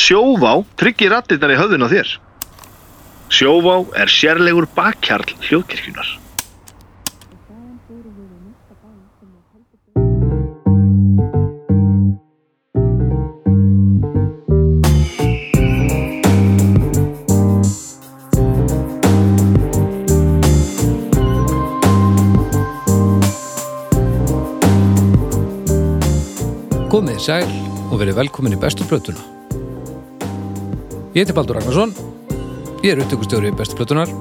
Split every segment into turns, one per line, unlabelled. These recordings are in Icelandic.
Sjóvá tryggir rattirnar í höfðun á þér. Sjóvá er sérlegur bakkjarl hljóðkirkjunar.
Komið þið sæl og verið velkomin í bestu plötuna. Ég heiti Baldur Ragnarsson, ég er upptökustjóri bestu plötunar.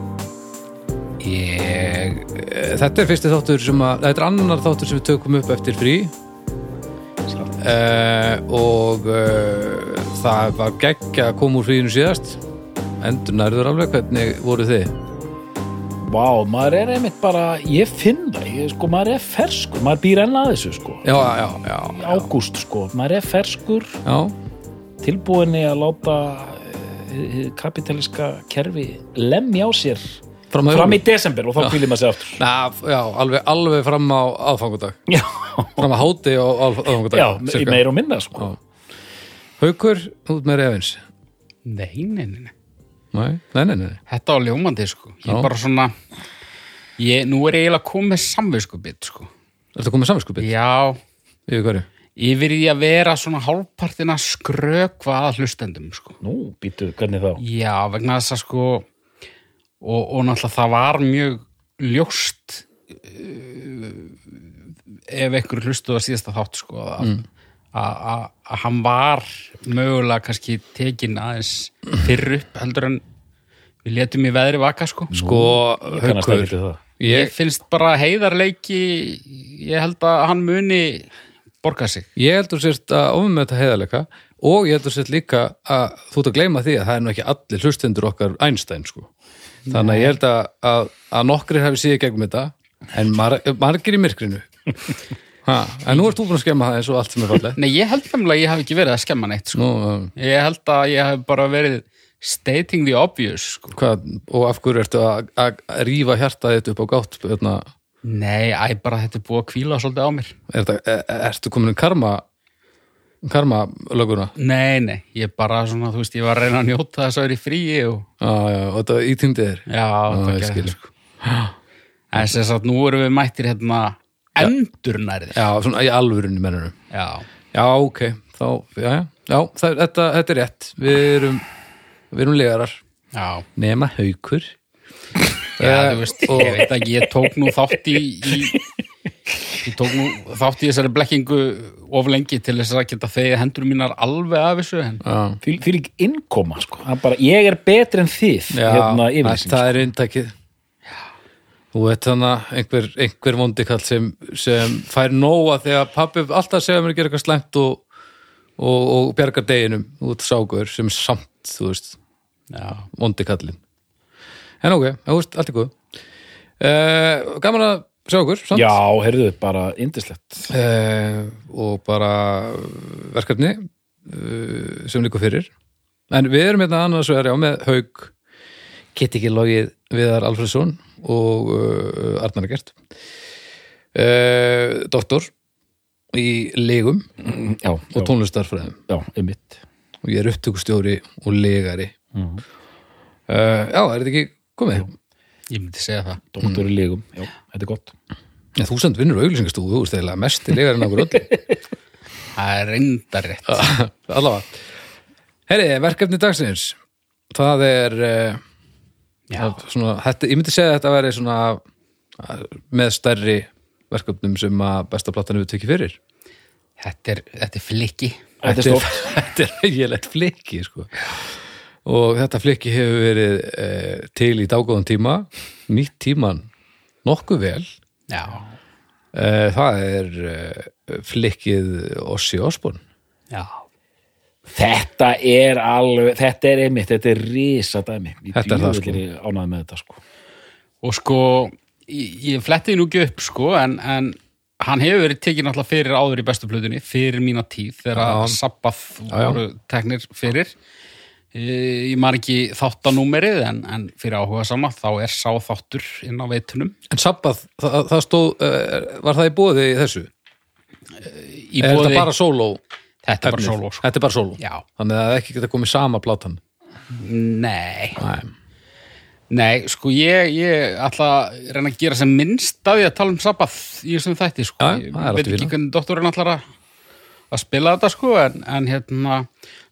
Ég, eh, þetta er fyrsti þáttur sem að, þetta er annar þáttur sem við tökum upp eftir frí. Uh, og uh, það var geggja að koma úr fríinu síðast. Endur nærður alveg, hvernig voru þið?
Vá, maður er einmitt bara, ég finn það, ég, sko, maður er ferskur, maður býr enn að þessu, sko.
Já, já, já.
Í ágúst, sko, maður er ferskur,
Já,
tilbúinni að láta eh, hið kapitaliska kerfi lemja á sér
fram að
fram í
jólum.
desember og þá kvílir maður sér aftur.
Na, já, alveg, alveg fram á aðfangudag.
Já,
Fram að háti á aðfangudag.
já, í meir og minna, sko.
Já. Haukur, út með reyðins
Nei, nei, nei, nei.
Nei, nei, nei, nei.
Þetta var ljómandi, sko. Ég
Já.
bara svona, ég, nú er ég eiginlega komið samviskubit, sko.
Þetta komið samvinskupið
Já,
yfir hverju
yfir í að vera svona hálfpartina skrökva að hlustendum, sko.
Nú, býtu, hvernig þá?
Já, vegna þess að sko, og, og náttúrulega það var mjög ljóst eh, ef einhver hlustuð að síðasta þátt, sko, að að að- að hann var mögulega kannski tekin aðeins fyrr upp heldur en við letum í veðri vaka, sko. sko
Sko,
Kannast
Haukur
ekki til það.
Ég
ég,
finnst bara heiðarleiki, ég held að hann muni borga sig.
ég heldur sért að ofum með þetta heiðarleika og ég heldur sért líka að þú ert að gleyma því að það er nú ekki allir hlustendur okkar Einstein sko. þannig að ég held að, að, að nokkrir hafi síðið gegnum þetta en mar, margir í myrkrinu ha, en nú ert þú búin að skemma það eins og allt sem er fallið
Nei, ég held nefnilega að ég hafi ekki verið að skemma neitt, sko.
Nú, um,
Ég held að ég hef bara verið stating the obvious, sko.
hvað, og af hverju ertu að, að rífa hjartað þitt upp á gátt hérna,
Nei, æ, bara þetta er búið að kvíla svolítið á mér.
er þetta, er, ertu komin um karma karma löguna
Nei, nei, ég bara svona, þú veist, ég var að reyna að njóta þess að vera í fríi og...
já, já, og þetta ítýndi þér
Já, það
ég
gerði
skil.
þetta, sko. En sem sagt, nú erum við mættir hérna endurnærið.
já, svona í alvörunni mennunum
Já.
já, ok, þá, já, já, já það, þetta, þetta er rétt, við erum við erum legarar,
Já.
nema haukur
Já,
Eh,
þú veist, ég veit ekki, ég tók nú þátt í, í ég tók nú þátt í þessari blekkingu of lengi til þess að geta þegið hendur mínar alveg af þessu en
já,
Fyrir ekki innkoma, sko. Það er bara, ég er betri en þið,
já
hérna,
það,
yfirlýsing.
það er inntakið þú veit þannig einhver, einhver vondikall sem, sem fær nóa þegar pappi alltaf segja mér að gera eitthvað slæmt og, og, og bjargar deginum út ságur sem er samt, þú veist
já,
vondi kallinn en ok, það veist, allt í góð uh, gaman að sjá okkur samt.
Já, heyrðu, bara indislegt.
Eh, og bara eh, verkefni uh, sem líka fyrir en við erum hérna annars vegar já með Haug get ekki logið Viðar Alfredsson og uh, Arnar Gert uh, doktor í legum
Já,
og tónlistarfræðum
já, einmitt.
og ég er upptökustjóri og legari mm já, er þetta ekki komið?
ég myndi segja það
Mm.
Dóttur í lígum, já, þetta er gott.
Já, þú samt vinnur auglýsingastúðu, þú veist eiginlega mest í legarinn okkur öll.
Það er reyndar rétt.
Allavega. Herri, verkefni dagsins. Það er, eh,
Já.
svona, þetta, ég myndi segja að þetta veri svona eh, með stærri verkefnum sem að besta platan hefur tekið fyrir.
Þetta er, þetta er flikki.
Þetta er stórt.
þetta er eiginlegt flikki, sko. Og þetta flikki hefur verið e, til í dágóðan tíma, nýtt tíman nokkuð vel.
Já.
E, það er e, flikkið Ossi Osborn.
Já.
Þetta er alveg, þetta er einmitt, þetta er risa dæmi. Ég
Þetta er það,
djöfull ég Ánæði með þetta, sko.
Og sko, ég, ég fletti nú ekki upp, sko, en, en hann hefur verið tekið náttúrulega fyrir áður í bestu plötunni, fyrir mína tíð, þegar að
Já.
sabbað
já.
voru teknir fyrir. Eh, Ég man ekki þáttanúmerið, en, en fyrir áhuga sama, þá er sá þáttur inn á veitunum.
En sabbað, það, eh, það stóð, uh, var það í bóði í þessu?
Í
er þetta
boði-
bara sóló?
Þetta er bara
efnið.
sóló, sko.
Þetta er bara sóló
Já.
Þannig að það ekki geta komið sama plátan
Nei,
Nei.
nei, sko ég, ég ætla að reyna að gera sem minnst af því að tala um sabbað í þessum þætti, sko.
Já,
ég
það er allt
veit
í
ekki
fína.
hvernig doktorinn ætlar að, að spila þetta, sko, en, en hérna,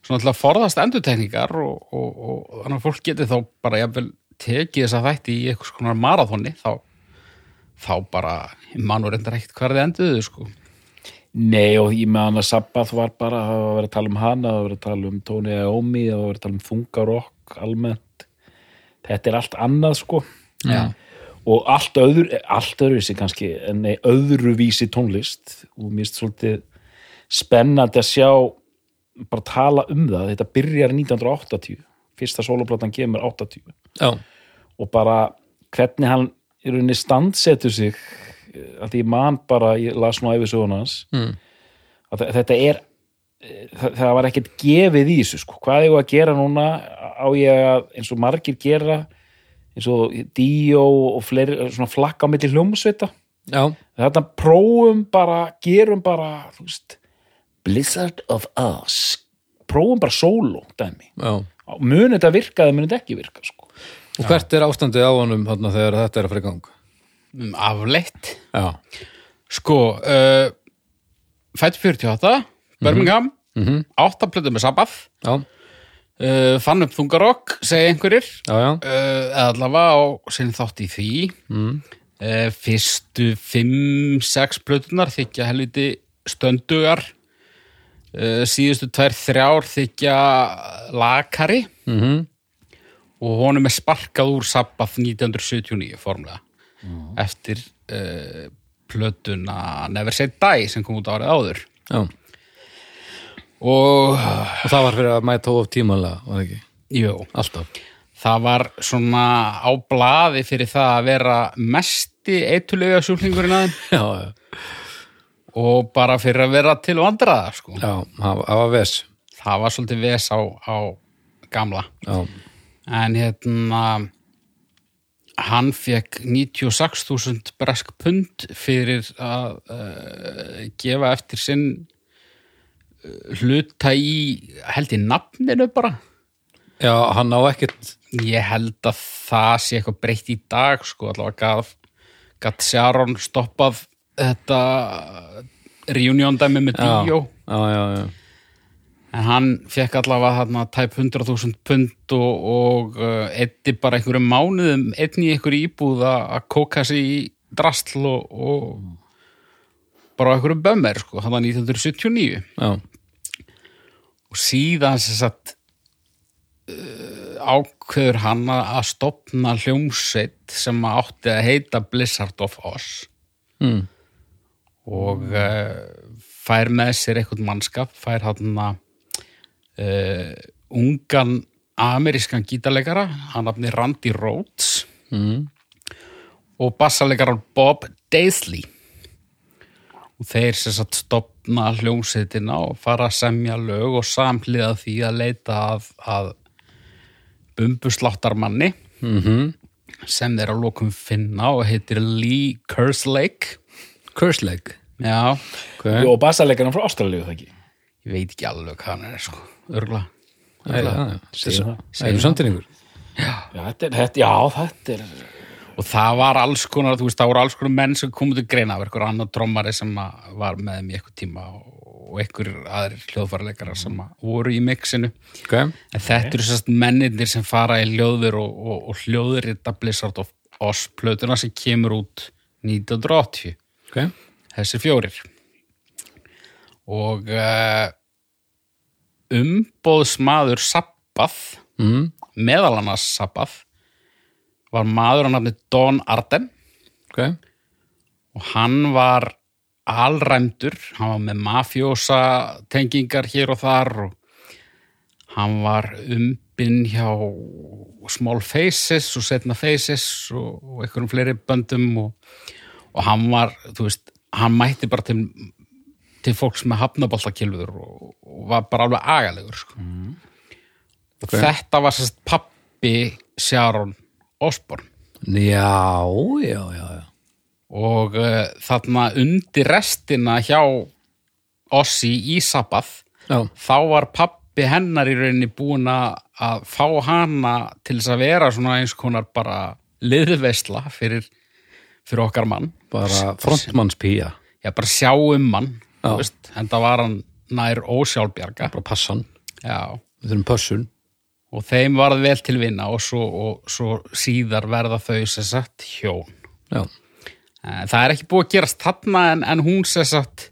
svona ætla að forðast endurtekningar og, og, og, þannig að fólk geti þá bara jafnvel tekið þessa þætti í eitthvað svona marathóni, þá, þá bara, mannur reyndar ekkert hvað þið enduðu, sko.
Nei, og ég með hana Sabbath var bara, það var verið að tala um hana, það var verið að tala um Tony Iommi, það var verið að tala um þungarokk almennt. Þetta er allt annað, sko.
Já.
Og allt öðru, allt öðruvísi kannski, en nei, öðruvísi tónlist. Og mér finnst svolítið spennandi að sjá, bara tala um það. Þetta byrjar 1980, fyrsta soloplatan kemur 80
Já,
og bara hvernig hann í rauninni standsetur sig eh, af því ég man bara, ég las nú æfi hans
Mm.
að þe- þetta er eh, það, það var ekkert gefið í þessu sko. hvað ég var að gera núna á ég að eins og margir gera eins og Díó og fleiri, eh, svona flakka á milli hljómsveita
já,
þetta prófum bara, gerum bara þú veist, Blizzard of Us prófum bara solo dæmi,
já
mun þetta virka eða mun þetta ekki virka sko.
Og hvert er ástandið á honum þarna þegar þetta er að fara í gang?
Um, Afleitt.
Já,
Sko, uh, fætt 48,
Mhm.
Birmingham, mm -hmm. plötu með Sabbath,
já,
uh, fann upp þungarokk, segja einhverjir,
já, já
uh, eða allavega á sinni þátt í því. Mm. Uh, fyrstu 5-6 plötunar þykja helviti stöndugar, uh, síðustu tvær þrjár þykja lakari
mm -hmm.
og honum er sparkað úr Sabbath 1979 formlega eftir uh, plötuna Never Say Die sem kom út árið áður
Já, og
og
það var fyrir að mæta of tímanlega, var það ekki?
jú,
Alltaf
það var svona á blaði fyrir það að vera mesti eitulega sjúklingurinn aðeim
Já, já,
og bara fyrir að vera til vandraða sko.
já, það það var ves
það var svolítið ves á, á gamla
Já,
en hérna hann fekk 96.000 bresk pund fyrir að uh, gefa eftir sinn eh, hluta í held í nafninu bara
já, hann á ekkert
ég held að það sé eitthvað breytt í dag sko, allavega gaf gatt Sharon stoppað þetta reunion dæmi með
Já,
Díó
já, já, já
en hann fekk allavega þarna tæp 100.000 pund og, og uh, etti bara einhverjum mánuðum einn í einhverju íbúð að að kóka sig í drastl og, og bara á einhverjum bömmer sko, hann var 1979
Já,
og síðan sem sagt uh, ákveður hann að að stopna hljómsveit sem að átti að heita Blizzard of Oz
mm.
og uh, fær með sér eitthvað mannskap, fær hann að uh, ungan amerískan gítarleikara, hann afni Randy Rhodes
Mm.
og bassalegaran Bob Daisley og þeir sem satt stopna hljómsveitina og fara að semja lög og samhliða því að leita að, að bumbusláttarmanni
Mm -hmm.
sem þeir á lokum finna og heitir Lee Kerslake
Curse Lake
já,
okay.
Jó, og bassarleikarinn frá Ástralíu það ekki
ég veit ekki alveg hvað hann er sko, örgla
Nei, já, já.
Segir það.
Erum samtíningur?
já, þetta er, þetta, já, þetta er
og það var alls konar, þú veist, það voru alls konar menn sem komið til greina, það var einhver annar trommari sem að var með þeim í eitthvað tíma og einhver aðrir hljóðfæraleikara sem að voru í mixinu
Ok,
En þetta eru sérst mennindir sem fara í hljóður og, og, og hljóður í Blizzard of Oz plötuna sem kemur út 1980,
ok
þessi fjórir. Og uh, umbóðsmaður Sabbath,
mm.
meðal annars Sabbath, var maður að nafni Don Arden
Ok,
og hann var alræmdur, hann var með mafjósa tengingar hér og þar og hann var umbinn hjá Small Faces og setna Faces og, og einhverjum fleiri böndum og, og hann var, þú veist, hann mætti bara til, til fólks með hafnaboltakilfur og, og var bara alveg agalegur sko. og þetta var sérst pappi Sharon Osborn
já, já, já, já
eh, og uh, þarna undir restina hjá Ossi í Sabbath
já,
þá var pappi hennar í rauninni búin að að fá hana til þess að vera svona eins konar bara liðveisla fyrir, fyrir okkar mann
bara frontmannspía
já, bara sjá um mann
Já.
þú veist, en það var hann nær ósjálfbjarga
bara passan,
já,
við þurfum pössun
og þeim varð vel til vinna og svo, og svo síðar verða þau sem sagt hjón
já,
Eh, það er ekki búið að gerast þarna en, en hún sem sagt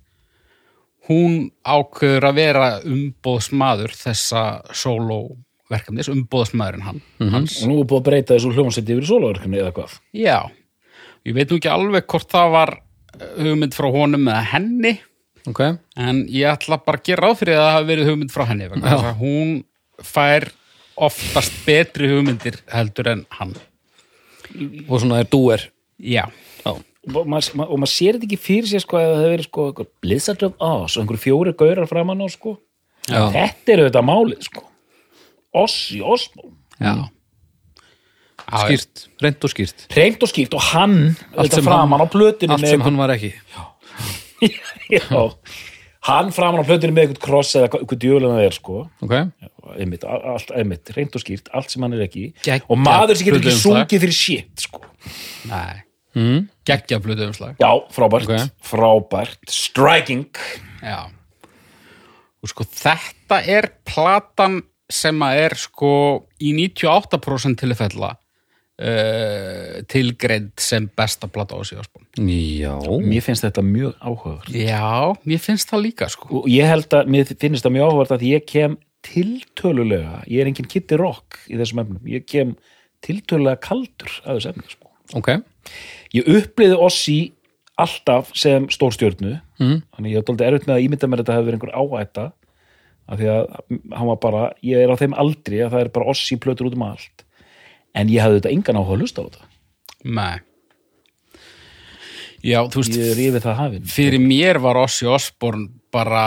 hún ákveður að vera umbóðsmaður þessa sóló verkefnis, umbóðsmaðurinn hann hans
og nú er búið að breyta þessu hljómsætti yfir í sólaverkefni eða hvað
Já, ég veit nú ekki alveg hvort það var eh, hugmynd frá honum eða henni
ok,
en ég ætla bara að gera ráð fyrir að það hafi verið hugmynd frá henni vegna þess að hún fær oftast betri hugmyndir heldur en hann
og svona er dúer
Já,
já,
og maður, ma- og maður sér þetta ekki fyrir sér sko að það hefur verið sko einhver Blizzard of Oz og einhver fjóri gaurar framan á sko
já,
þetta er auðvitað málið sko Oss í Osmo
já Já,
skýrt reynd og skýrt,
reynd og skýrt og hann auðvitað
sem
framan á
hann-
plötinu
allt sem hann var ekki
hann... hann framan á plötinu með einhvern kross eða hvað- hvað djöfulega það er sko
ok,
einmitt, a- allt, einmitt, reynd og skýrt allt sem hann er ekki
Geggjað
og maður sem getur
um
ekki
plötuumslag.
sungið fyrir shit sko.
Nei,
mm.
geggja blötu umslag
já, frábært,
Ok.
frábært striking
Já og sko þetta er platan sem að er sko í 98% tilfella uh, tilgreind sem besta plata á síðaspun
já
mér finnst þetta mjög áhugavert
Já, mér finnst það líka sko
og ég held að, mér finnst það mjög áhugavert að ég kem tiltölulega ég er engin kitty rock í þessum efnum ég kem tiltölulega kaldur að þessum efnum sko.
ok,
ég upplýði Ossi alltaf sem stórstjörnu mm. þannig ég er dálítið erfitt með að ímynda mér að þetta hefur verið einhver áætta af því að hann var bara, ég er á þeim aldri að það er bara Ossi plötur út um allt en ég hafði þetta engan áhuga að hlusta á þetta
Nei Já, þú veist,
ég rífi það hafin
fyrir mér var Ossi Osborn bara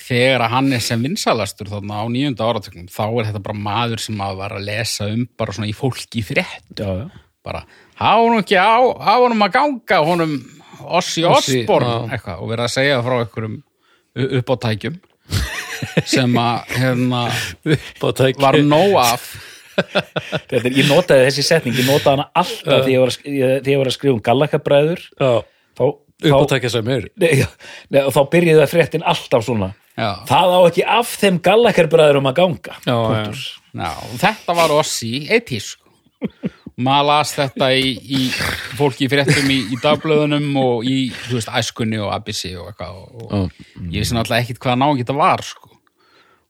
þegar að hann er sem vinsalastur þarna á nýjunda áratöknum þá er þetta bara maður sem að var að lesa um bara svona í fólki í frétt
já, já.
bara hafa honum ekki á, hafa honum að ganga honum Ossi
Ossi,
Osborn
já.
eitthvað, og verið að segja frá einhverjum u- uppátækjum sem að hérna, var nóg af
Þetta er, ég notaði þessi setning, ég notaði hana alltaf þegar ég, var að, sk- ég, þegar ég var að skrifa um gallakabræður þá, þá,
uppátækja sem er
nei, já, nei, og þá byrjuði það fréttin alltaf svona
já,
það á ekki af þeim gallakabræðurum að ganga
Já,
Punktur.
já, og þetta var Ossi eitís maður las þetta í, í fólki í fréttum í, í dagblöðunum og í þú veist, æskunni og abissi og eitthvað og, og ég vissi náttúrulega ekkit hvaða náðan geta var sko.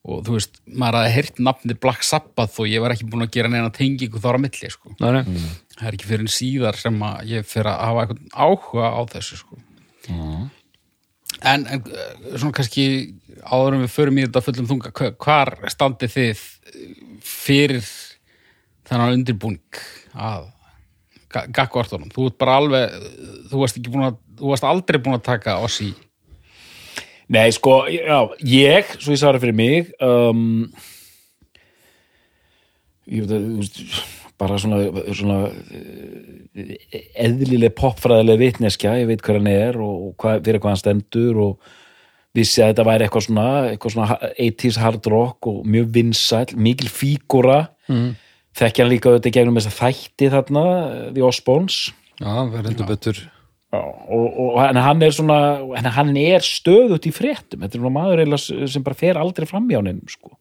og þú veist, maður hafði heyrt nafnið Black Sabbath og ég var ekki búin að gera neina tengingu þar á milli sko.
Ná, nei.
það er ekki fyrir en síðar sem að ég fyrir að hafa eitthvað áhuga á þessu sko. en, en eh, svona kannski áður en við förum í þetta fullum þunga hva- hvar standið þið eh, fyrir þennan undirbúning að gakkvartunum, þú ert bara alveg eh, þú varst, ekki búin að, þú varst aldrei búin að taka oss í
Nei, sko, já, ég, svo ég sagði fyrir mig um, ég veit að þú veist, bara svona, svona eh, eðlileg popfræðileg vitneskja, ég veit hver hann er og og hvað, fyrir hvað hann stendur og vissi að þetta væri eitthvað svona, eitthvað svona 80s hard rock og mjög vinsæll, mikil fígúra mm. þekkja hann líka auðvitað í gegnum þess að þætti þarna, eh, The Osborns
já, það er heldur betur
Já, og, og en hann er svona en hann er stöðut í fréttum þetta er svona maður eiginlega s- sem bara fer aldrei fram í ánum sko.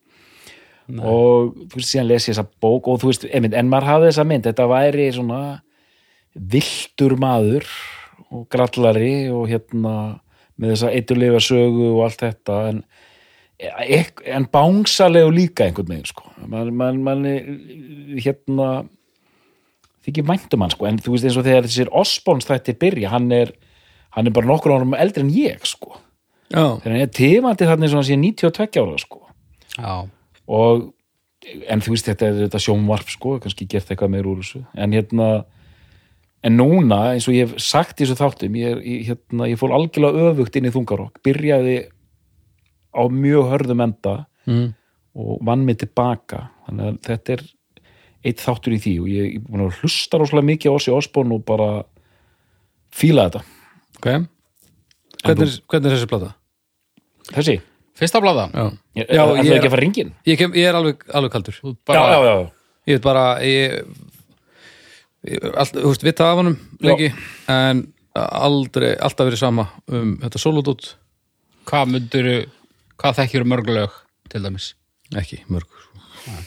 og þú veist, síðan les ég þessa bók og þú veist, einmitt, en maður hafði þessa mynd þetta væri svona viltur maður og grallari og hérna með þessa eitulifa sögu og allt þetta en, ek- en bángsalegu líka einhvern veginn sko. mann man, man, hérna þykir væntum hann sko, en þú veist eins og þegar þessir Osborns þættir byrja, hann er hann er bara nokkur árum eldri en ég sko
já,
þegar hann er tifandi þarna eins og hann sé 92 ára sko
Já,
og en þú veist þetta er þetta sjónvarp sko, kannski gert eitthvað meir úr þessu en hérna en núna, eins og ég hef sagt í þessu þáttum ég, er- ég, hérna, ég fór algjörlega öfugt inn í þungarokk, byrjaði á mjög hörðum enda
Mm.
og vann mig tilbaka þannig að þetta er eitt þáttur í því og ég, ég búin að hlusta rosalega mikið á oss í Osborn og bara fíla þetta,
ok hvernig, er- hvernig er þessi plata?
þessi
Fyrsta blaða?
já.
Já, já,
ég,
ég
er,
ekki að fara ringin
ég, kem, ég er alveg, alveg kaldur
Þú
já,
bara,
já, já,
ég veit bara ég, ég, allt, þú veist, vita af honum lengi, en aldrei, alltaf verið sama um þetta solodót,
Hvað myndur, hvað þekkjur mörg lög til dæmis?
ekki mörg sko.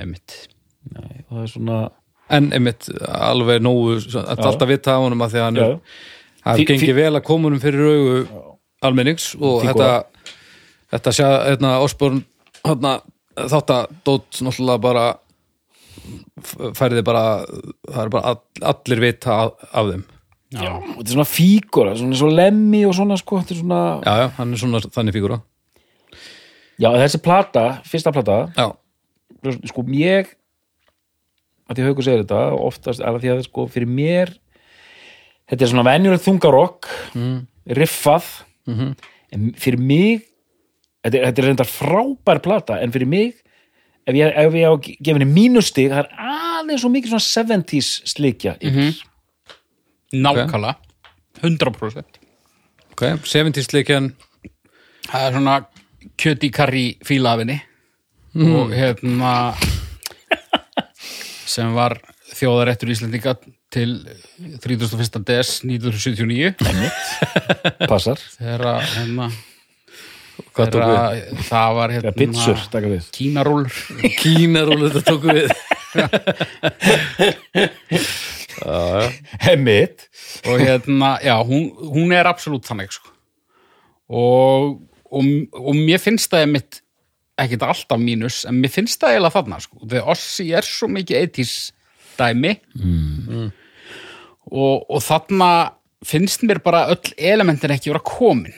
Einmitt.
Nei, það er svona
en einmitt alveg nógu, þetta er alltaf vita af honum að því að hann
já,
er, það
Fí-
hefur gengið vel að koma honum fyrir augu almennings og
Fígúra.
þetta þetta sjá, hérna, Osborn hérna, þátt að dótt náttúrulega bara f- færði bara, það er bara all, allir vita af, af þeim
Já.
Og þetta er svona fígura, svona svo lemmi og svona sko, þetta er svona
já, já, hann er svona þannig fígúra
já, þessi plata, fyrsta plata
já,
sko ég að því haugur segir þetta oftast er að því að sko fyrir mér þetta er svona venjuleg þungarokk riffað Mhm. en fyrir mig þetta er, þetta er reyndar frábær plata en fyrir mig ef ég, ef ég á að gefa henni mínustig það er aðeins svo mikið svona 70s slikja mm
Nákvæmlega. 100%.
ok, 70s leikjan
Það er svona kjöti karri fílafinni og hérna sem var þjóðarettur Íslendinga til 31. des 1979
passar
þegar að, hérna,
hvað tók
þegar
við?
að það var
eða pizzur,
hérna
taka við
kínarúlur
Kínarúlu þetta tók við
hemmit
og hérna, já, hún, hún er absolutt þannig, sko og, og, og mér finnst það mitt, ekkit alltaf mínus en mér finnst það eiginlega þarna, sko þegar Ossi er svo mikið 80s dæmi mm. og, og þarna finnst mér bara öll elementin ekki vera komin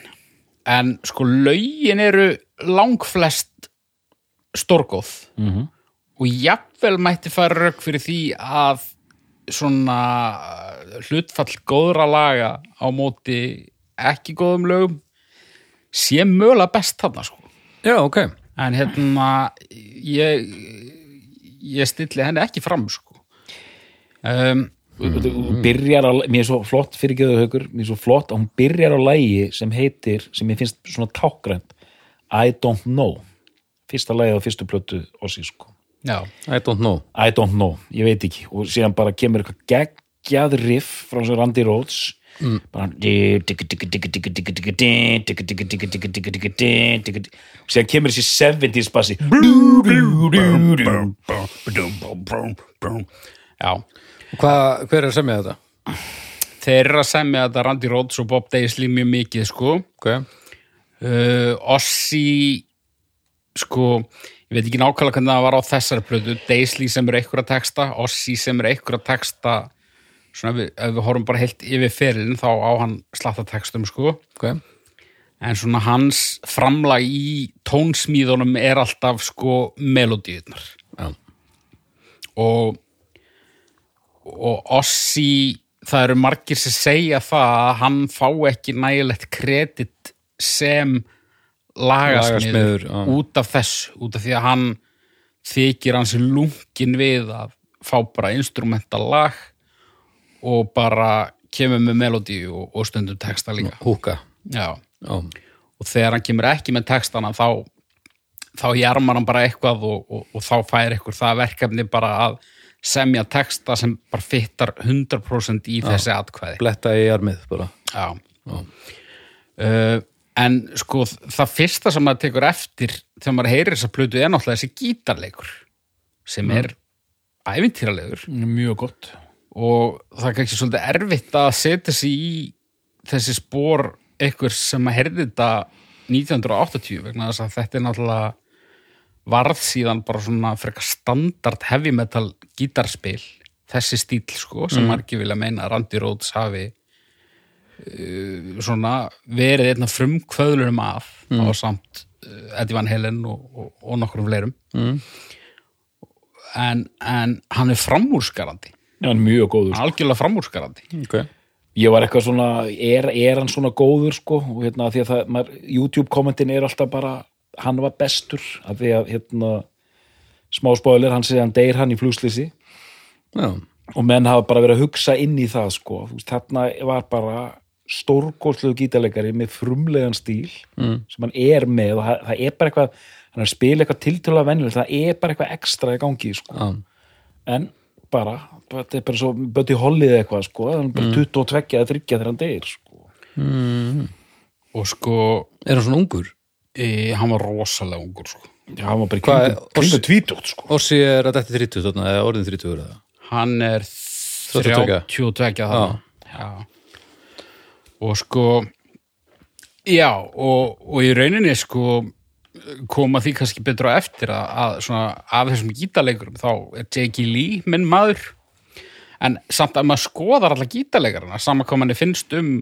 en sko lögin eru langflest stórgóð -hmm. og jafnvel mætti fara rauk fyrir því að svona uh, hlutfall góðra laga á móti ekki góðum lögum sé mögulega best þarna sko
já, ok,
en hérna ég, ég stilli henni ekki fram sko um,
Hún byrjar á, mér er svo flott fyrir geðu haukur, mér er svo flott að hún byrjar á lægi sem heitir, sem ég finnst svona tákgrænt, I don't know fyrsta lægið á fyrstu plötu og sér sko,
já,
I don't know
I don't know, ég veit ekki og síðan bara kemur eitthvað geggjað riff frá þessu Randy Rhodes bara og síðan kemur þessi 70s bassi
já
Hva, hver er að semja þetta?
þeir eru að semja þetta Randy Rhodes og Bob Daisley mjög mikið sko
ok,
uh, Ossi sko, ég veit ekki nákvæmlega hvernig það var á þessari plötu, Daisley sem er einhverja texta, Ossi sem er einhverja texta svona ef við, ef við horfum bara heilt yfir ferilin þá á hann slatta textum sko,
ok
en svona hans framlag í tónsmíðunum er alltaf sko melodíunar
já,
og og Ossi það eru margir sem segja það að hann fá ekki nægilegt kredit sem
Lagasmiður,
lagasmiður
já.
út af þess, út af því að hann þykir hans lungin við að fá bara instrumental lag og bara kemur með melodíu og, og stundum texta líka
húka
Já.
já,
og þegar hann kemur ekki með textana þá, þá jarmar hann bara eitthvað og, og, og þá fær ykkur það verkefni bara að semja texta sem bara fittar 100% í þessi atkvæði
bletta í armið bara
Já. Uh, en sko það fyrsta sem maður tekur eftir þegar maður heyrir þessa plötu er náttúrulega þessi gítarleikur sem er ævintýralegur
mjög gott
og það er kannski svolítið erfitt að setja sig í þessi spór einhver sem að herði þetta 1980 vegna þess að þetta er náttúrulega varð síðan bara svona frekar standard heavy metal gítarspil þessi stíl sko sem margir vilja meina að Randy Rhodes hafi uh, svona verið einna frumkvöðlunum af á samt uh, Eddie Van Halen og, og, og nokkrum fleirum mm. en, en hann er framúrskarandi
Já, hann er mjög góður
algjörlega framúrskarandi
ok,
ég var eitthvað svona, er, er hann svona góður sko, og hérna því að það maður, YouTube kommentin er alltaf bara hann var bestur, af því að hérna smá spoiler, hann segir hann deyr hann í flugslýsi
já,
og menn hafa bara verið að hugsa inn í það sko, þú veist, þarna var bara stórgóðslegu gítarleikari með frumlegan stíl
Mm.
sem hann er með og það, það er bara eitthvað hann er að spila eitthvað tiltölulega venjulega það er bara eitthvað ekstra í gangi sko.
Já.
en bara, þetta er bara svo Buddy Holly eða eitthvað sko, hann er bara
Mm.
22 eða 30 þegar hann deyr sko.
og sko,
Er hann svona ungur?
e, hann var rosalega ungur sko.
Já, hann var bara í
Hvað
kringum,
er-
kringum tvítótt sko.
Ossi er að þetta 30 þarna, eða orðin 30 eða.
hann er
32.
32 þarna. já. og sko já og, og í rauninni sko koma því kannski betra á eftir að, að svona af þessum gítaleikurum þá er J.K. Lee minn maður en samt að maður skoðar alla gítaleikarana saman hvað manni finnst um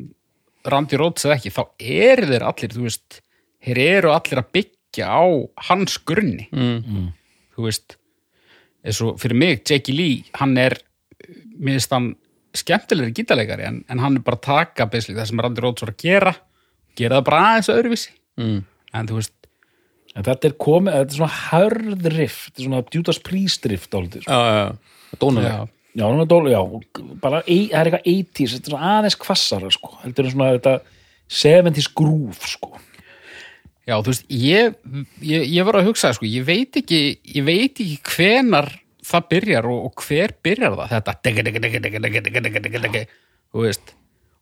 Randy Rhodes eða ekki, þá eru þeir allir þú veist, þeir eru allir að byggja á hans grunni
Mm.
þú veist eins og fyrir mig, Jackie Lee, hann er minnst hann skemmtilegri gítarleikari en, en hann er bara að taka basically, það sem Randy Rhodes var að gera gera það bara aðeins öðruvísi
Mm.
en þú veist,
en þetta er komið, þetta er svona hörð riff, þetta er svona djútast prístrift áldi, sko.
Já, já, já. Dónaleg.
já,
já, hann er dólu, já og bara, ei, það er eitthvað 80s, þetta er svona aðeins kvassara sko. heldur en svona þetta 70s groove sko.
já, þú veist ég, ég, ég var að hugsa, sko, ég veit ekki ég veit ekki hvenar það byrjar og, og hver byrjar það þetta degi, degi, degi, degi, degi, degi, degi, degi, degi, þú veist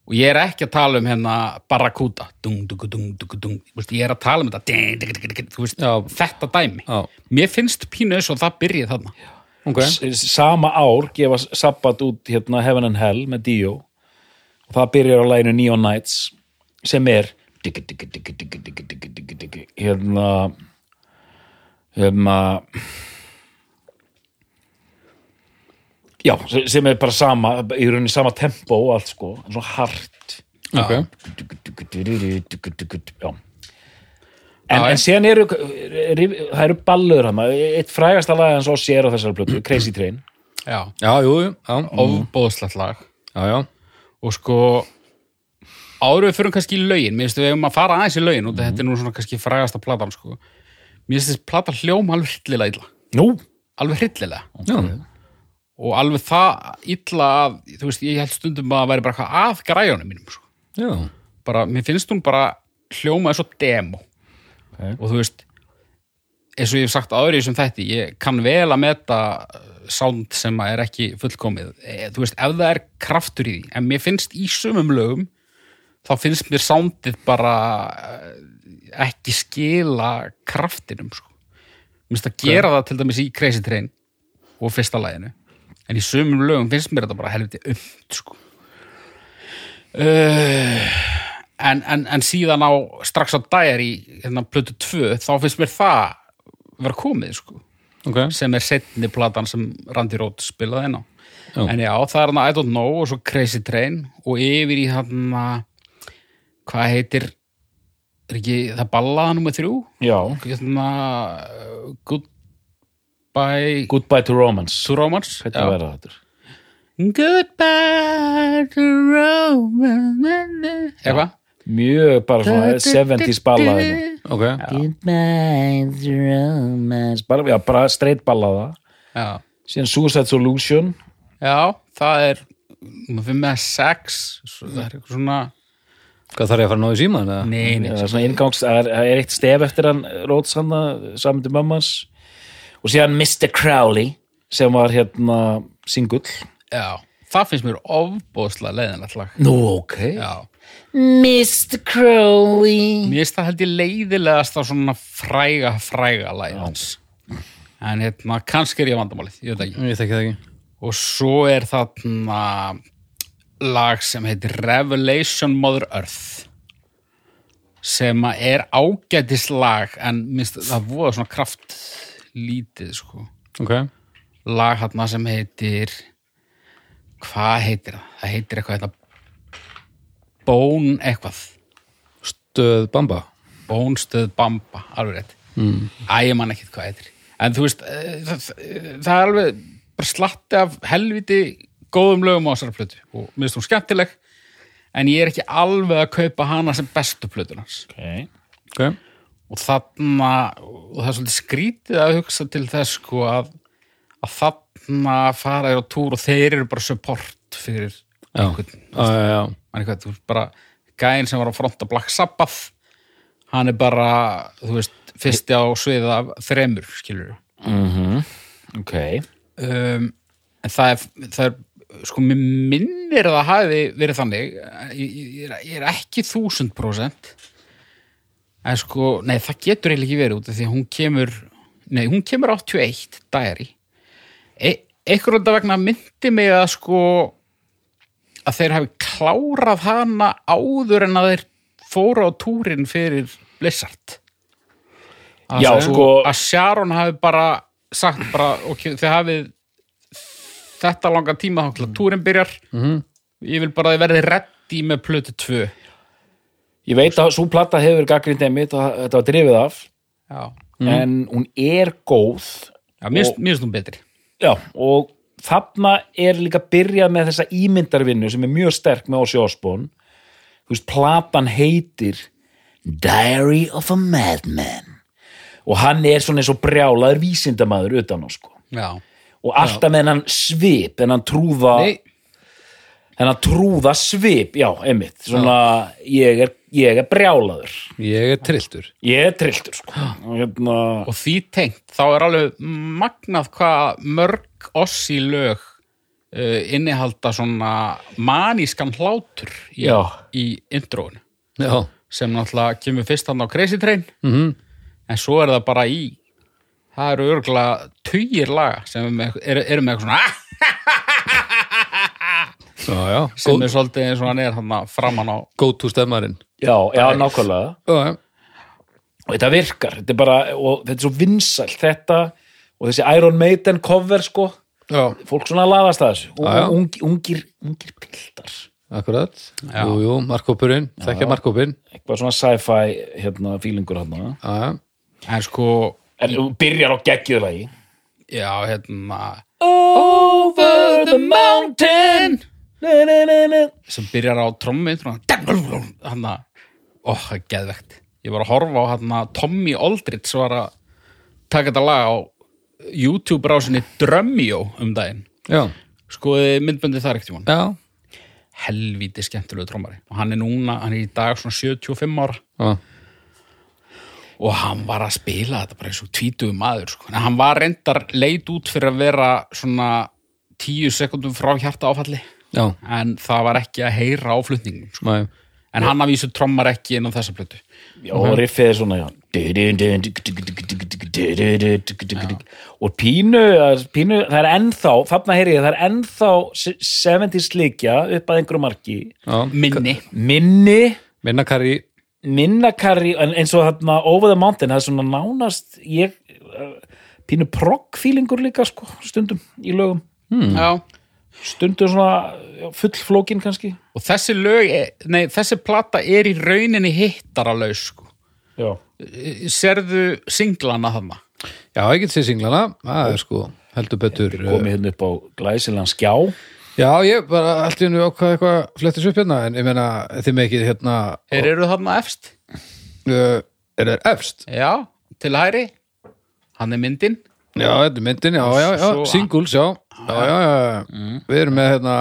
og ég er ekki að tala um hérna barrakuda dung, dung, dung, dung, dung, þú veist, ég er að tala um þetta degi, degi, degi, degi, þú veist,
Já.
þetta dæmi
Já,
Mér finnst pínu eins og það byrjið þarna.
ok.
S- sama ár gefa Sabbat út hérna Heaven and Hell með Dio og það byrjar á læginu Neon Nights sem er diggi, diggi, diggi, diggi, diggi, diggi, diggi, diggi, hérna hérna já, se- sem er bara sama í rauninni sama tempo og allt sko en svona hart
Ok.
já En,
Já, já.
en síðan eru, eru það eru ballur hann, eitt frægasta lag hans og sér á þessari blötu, Crazy Train
Já.
Já, jú, jú, já,
Ofbóðslegt lag.
já, já.
Og sko, áruð fyrir kannski í lögin. Mér finnst við um að fara aðeins í lögin og þetta er nú svona kannski frægasta platan, sko. Mér finnst þessi plata hljóma alveg hryllilega illa.
Nú?
Alveg hryllilega.
Já,
Og alveg það illa að, þú veist, ég held stundum að það væri bara eitthvað að græjónum mínum, sko.
já.
bara, mér finnst hún bara hljóma eins og demo og þú veist eins og ég hef sagt áður í þessum þætti ég kann vel að meta eh, sound sem að er ekki fullkomið Eh, þú veist, ef það er kraftur í því en mér finnst í sumum lögum þá finnst mér soundið bara eh, ekki skila kraftinum sko. mér finnst að gera það til dæmis í Crazy Train og fyrsta laginu en í sumum lögum finnst mér þetta bara helviti umt sko. en, en, en síðan á strax á dæjar í hérna, plötu 2 þá finnst mér það vera komið sko,
Ok.
sem er setni platan sem Randy Rhodes spilaði inn á
Já.
en já, það er hann I Don't Know og svo Crazy Train og yfir í hann hvað heitir er ekki það ballaða nummer þrjú
Já
hérna uh, Goodbye
Goodbye to Romance
to Romance
Hvernig
Já.
verða þetta?
Goodbye to Romance eitthvað
Mjög bara svona hérna. 70s ballaði
Ok.
Goodbye to Romance bara, Já, bara straight ballaða
já
Síðan Suicide Solution
Já, það er nummer 5 eða 6 það er eitthvað svona
Hvað þarf ég að fara að ná í síman? Eða?
nei, nei,
Það er svona inngangs, það er, það er eitt stef eftir hann Róts hann saman til mammas og síðan Mr. Crowley sem var hérna singull
já, það finnst mér ofbóðslega leiðinlegt lag
Nú, ok
já,
Mr. Crowley
mér finnst það held ég leiðilegast á svona fræga, fræga læðans en hérna, kannski er ég vandamálið ég veit það ekki,
Ég þekki það ekki.
og svo er þarna lag sem heitir Revelation Mother Earth sem að er ágætis lag en minnst, það voða svona kraft lítið sko
Ok.
lag hérna sem heitir hvað heitir það? Það heitir eitthvað hérna Bón eitthvað
Stöð Bamba.
Bónstöð Bamba, alveg rétt mm. Æ, ég man ekkert hvað heitir En þú veist, eh, það, það, það er alveg bara slatti af helviti góðum lögum á þessari plötu og mér finnst hún skemmtileg en ég er ekki alveg að kaupa hana sem bestu plötun hans
okay.
Ok.
og þarna og það er svolítið skrítið að hugsa til þess sko að, að þarna fara þér á túr og þeir eru bara support fyrir
Já.
einhvern,
Já, já, já.
mann eitthvað, þú ert bara gæinn sem var að fronta Black Sabbath hann er bara, þú veist, fyrsti á sviðið af þremur, skilur
ok,
um, en það er, það er sko, mér minnir að það hafi verið þannig ég, ég, ég er- ég er ekki þúsund prósent en sko, nei, það getur eiginlega ekki verið út af því að hún kemur nei, hún kemur 81, diary e, einhverjum þetta vegna myndi mig að sko að þeir hafi klárað hana áður en að þeir fóru á túrin fyrir Blizzard að
Já,
þú-
sko-
að Sharon hafi bara sagt bara, ok, þið hafið þetta langan tíma þá til að túrin byrjar -hmm. ég vil bara að þið verði reddi með plötu 2
ég veit að svo plata hefur gaggrind einmitt og þetta var drifið af
já,
en hún er góð
já mér finnst- mér finnst hún betri
Já, og þarna er líka byrjað með þessa ímyndarvinnu sem er mjög sterk með Ossi Osborn þú veist, platan heitir Diary of a Madman og hann er svona eins og brjálaður vísindamaður utan á sko
já,
og alltaf með hennan svip hennan trúða,
nei,
hennan trúða svip já, einmitt, svona ég er, ég er brjálaður
Ég er trilltur.
ég er trilltur sko og hérna,
og því tengt þá er alveg magnað hvað mörg ossi lög uh, innihalda svona manískan hlátur í,
Já.
í intróinu
Já.
sem náttúrulega kemur fyrst hann á Crazy Train -hmm. en svo er það bara í það eru örgulega tugir laga sem eru með, er, er með eitthvað svona "Ah!"
Já, já.
sem er svolítið eins og hann er hann framan á
Go to stemmarinn.
já, já, nákvæmlega
Já, já.
og þetta virkar, þetta er bara og þetta er svo vinsælt þetta og þessi Iron Maiden cover sko
Já,
fólk svona laðast að þessu
Já, já.
og ungir, ungir, ungir piltar
akkurat.
Já.
Jú, jú, markkópurinn. Þekkja markkópinn.
eitthvað svona sci-fi hérna fílingur hann
Já, já.
en sko,
en þú byrjar á geggjulagi
já, hérna
Over the mountain na, na, na, na.
sem byrjar á trommi hann að, ó, það er geðvegt ég var að horfa á hann að Tommy Aldrich var að taka þetta lag á YouTube rásinni Drömmjó um daginn
Já,
skoði myndböndið þar ekkert í
já.
helvíti skemmtilegu trommari og hann er núna, hann er í dag svona 75 ára
Já,
og hann var að spila þetta bara eins og tvítuðu maður sko. en hann var reyndar leit út fyrir að vera svona 10 sekundum frá hjarta áfalli
já.
en það var ekki að heyra á flutningum sko.
Næ,
en hann að vísu trommar ekki inn á þessa plötu
já, og riffið er svona já. og pínu, pínu það er ennþá, þarna heyri ég það er ennþá 70 slikja upp að einhverju marki
já.
minni,
minni
Minna Kari,
minna karri en eins og þarna Over the Mountain það er svona nánast ég uh, pínu progg-fílingur líka sko stundum í lögum
já
stundum svona já, fullflókin kannski
og þessi lög, er, nei, þessi plata er í rauninni hittaralaus sko.
já.
serðu singlana þarna
já, ég get sér singlana. Það er sko, heldur betur. eh,
komið hérna upp á glæsilegan skjá
Já, ég bara allt í hennu ákvað eitthvað flettis upp hérna, en ég meina, þið með ekki hérna,
er eru þarna efst?
uh, er það efst?
já, til hæri hann er myndin
Já, þetta er myndin, já, já, já,
Svo- Mm.
singles, já, já, já, já, já. Við erum með hérna,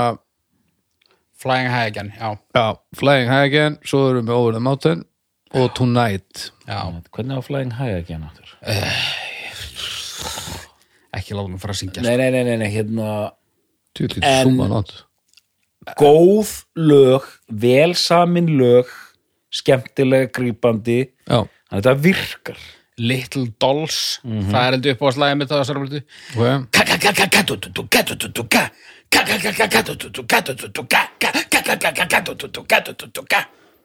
Flying High Again, já,
já, Flying High Again, svo erum við Over the Mountain og Tonight.
já.
hvernig á flæðin hæða ekki hann aftur
ekki láta mig fara að syngja sko.
nei, nei, nei, nei, nei, hérna
Tjúlítið
En-
súma nátt.
góð lög, velsamin lög skemmtilega grípandi
Já,
þannig að þetta virkar
Little Dolls, það er heldur upp á slæði mitt á þessar blötu
ok.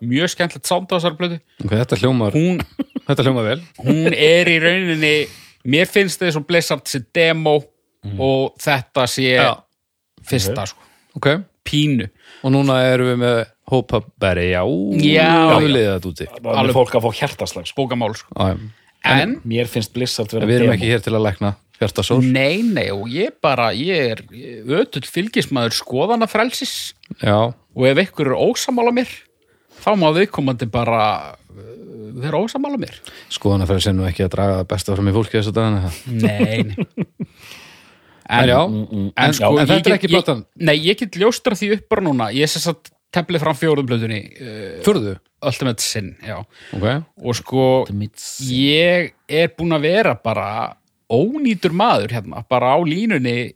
mjög skemmtilegt sound á þessar blötu
Ok, þetta hljómar,
hún,
þetta hljómar vel.
hún er í rauninni mér finnst þið svo Blizzard sér demo og þetta sé fyrsta sko,
Ok,
pínu
og núna erum við með Hope Up Berry, já.
Já,
Við
já.
liðið þetta úti.
það er fólk að fá hjertaslag sko.
bókamál sko.
Já, já.
en,
mér finnst Blizzard vera
En Við erum
demo.
ekki hér til að lækna hjartasór.
nei, nei og ég bara, ég er ötull fylgismæður skoðana frelsis
Já,
og ef ykkur er ósamála mér þá má viðkomandi bara uh, vera ósamála mér
skoðan að fyrir sér nú ekki að draga það besta fram í fólki þessu dagana. En,
Nei en, en
já,
sko,
en mm,
ég
þetta er
get-
ekki
sko, ég-
platan.
Nei, ég get ljóstra því upp bara núna ég sess að tefli fram fjóruðum blöðunni uh,
Fjörðu?
Ultimate Sin, já
Ok.
og sko, ég er búinn að vera bara ónýtur maður hérna, bara á línunni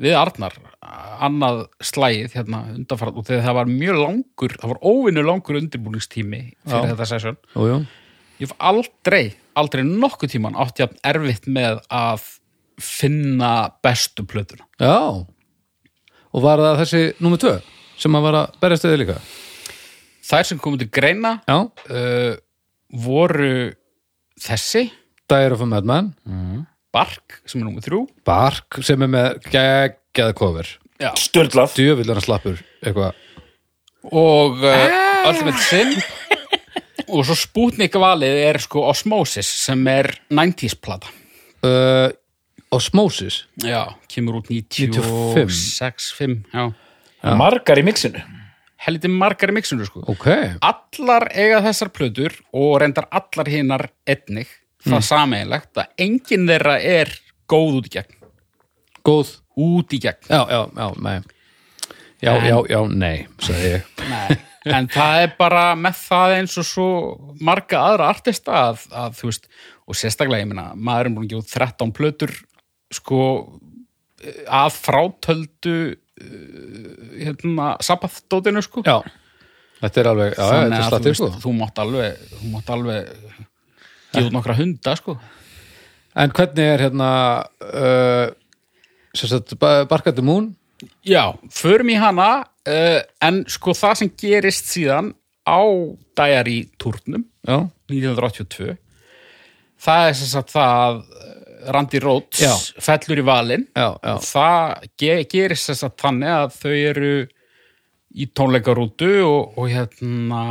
við Arnar annað slægið hérna undanfært og þegar það var mjög langur, það var óvinnu langur undirbúningstími fyrir
Já.
þetta session
Jú, jú.
ég hef aldrei, aldrei nokkuð tíman átti að erfitt með að finna bestu plötuna
Já. Og var það þessi númer tvö sem að var að berjast við þig líka?
þær sem komið til greina
Já.
uh, voru þessi,
Dire of a Madman,
Bark sem er númer þrjú
Bark sem er með geggjað cover.
Já.
Störlað
Djöfull hann slappur eitthvað.
og uh, Ultimate Sin og svo Sputnik valið er sko Osmosis sem er 90s plata
Uh, Osmosis.
já, kemur út
95.
96, 5 já,
Margar í mixinu
heldur margar í mixunum sko
Ok.
allar eiga þessar plötur og reyndar allar hinnar einnig það mm. sameiginlegt að enginn þeirra er góð út í gegn
Góð.
út í gegn
Já, já, já, nei. Já,
En-
já, já, nei, sagði ég.
en það er bara með það eins og svo marga aðra artista að, að þú veist, og sérstaklega ég meina, maður er múin að gefa út 13 plötur sko eh, að frátöldu eh, hérna, sabbathdótinu sko
Já. Þetta er alveg, já, já, þetta
þannig
er
að þú,
slattið, sko.
veist, þú mátt alveg þú mátt alveg gefa út nokkra hunda sko
En hvernig er hérna, uh, sem sagt, Ba- Bark at the Moon?
Já, förum í hana uh, en sko það sem gerist síðan á dæjar í turnum
Já.
1982 það er sem sagt það að eh, Randy Rhodes
Já.
fellur í valin
Já, já.
það ge gerist sem sagt þannig að þau eru í tónleikarútu og, og hérna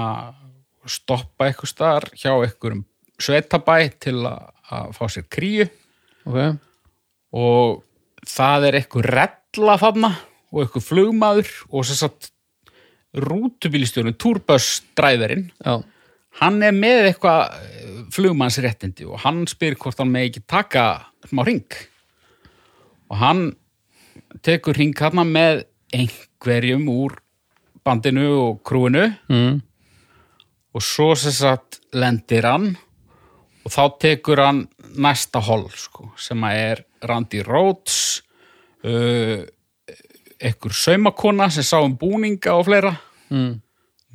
stoppa eitthvað staðar hjá einhverjum svetabæ til að, að fá sér kríu
Ok.
og það er eitthvað rella þarna og eitthvað flugmaður og sem sagt rútubílstjórnum, túrbössdræðurinn
Já.
hann er með eitthvað eh, flugmannsréttindi og hann spyr hvort hann með ekki taka smá ring og hann tekur ring hann með einhverjum úr bandinu og krúinu
Mm.
og svo sem sagt lendir hann og þá tekur hann næsta hol sko, sem að er Randy Rhodes uh, ekkur saumakona sem sá um búninga og fleira
Mm.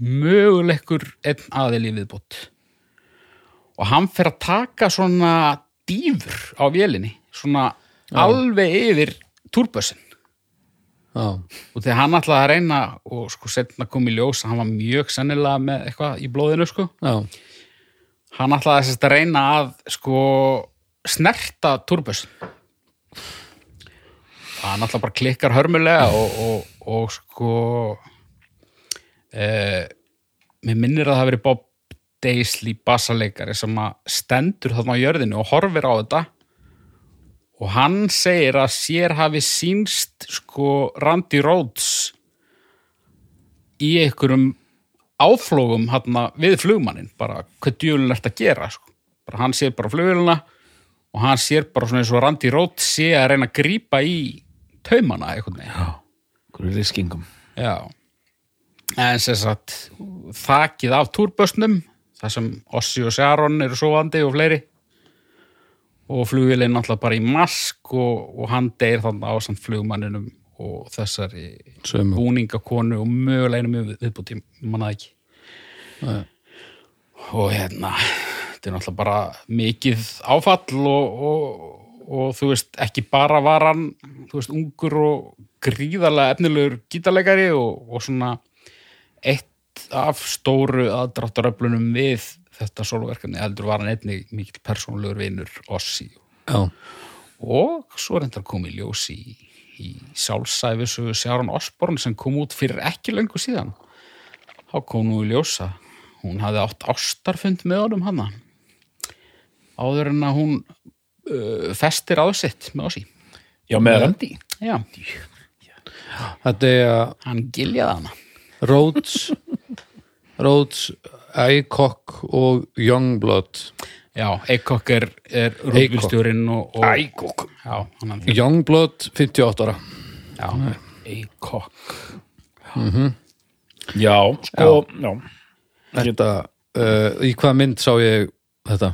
möguleikur einn aðil í viðbútt og hann fer að taka svona dýfur á vélinni svona alveg yfir túrbössin
Já.
og þegar hann ætlaði að reyna og sko setna kom í ljós að hann var mjög sennilega með eitthvað í blóðinu sko
Já.
hann ætlaði sérst að reyna að sko snerta turbus hann ætlaði bara klikkar hörmulega og, og, og sko eh, mér minnir að það hafi verið Bob Daisley basaleikari sem að stendur þarna á jörðinu og horfir á þetta og hann segir að sér hafi sýnst sko Randy Rhodes í einhverjum áflógum hérna við flugmannin bara hvað djúlun ert að gera sko. bara hann sér bara fluguluna og hann sér bara svona eins og Randy Rhodes sé að reyna að grípa í taumana einhvern veginn
Hverju riskingum
Já. En sem sagt, þakið af túrbösnum, þar sem Ossi og Sharon eru sofandi og fleiri. Og flugilinn náttúrulega bara í mask og, og hann deyr þannig á samt flugmanninum og þessari
Sömu.
búningakonu og möguleginu mjög viðbúti, mannaði ekki. Og hérna, þetta er náttúrulega bara mikið áfall og, og, og þú veist, ekki bara var hann, þú veist, ungur og gríðarlega efnilegur gítarleikari og, og svona eitt af stóru aðdráttaröflunum við þetta soloverkefni, heldur var hann einnig mikil persónulegur vinur Ossi
Já.
og svo reyndar kom í ljós í, í sálsæfisögu Sjáron Osborn sem kom út fyrir ekki löngu síðan þá kom nú í ljósa hún hafði átt ástarfund með honum hana áður en að hún uh, festir á sitt með oss í
Já, með hann
já,
Þetta er að
hann giljaði hana
Rhodes, Rhodes, Aycock og Youngblood.
já, Eikok er, er rúðbílstjórin og, og
Ægokk
já, hann hann
Mm-hmm.
Youngblood, 58 ára.
já,
Ægokk já, sko já.
Þetta, uh, í hvaða mynd sá ég þetta?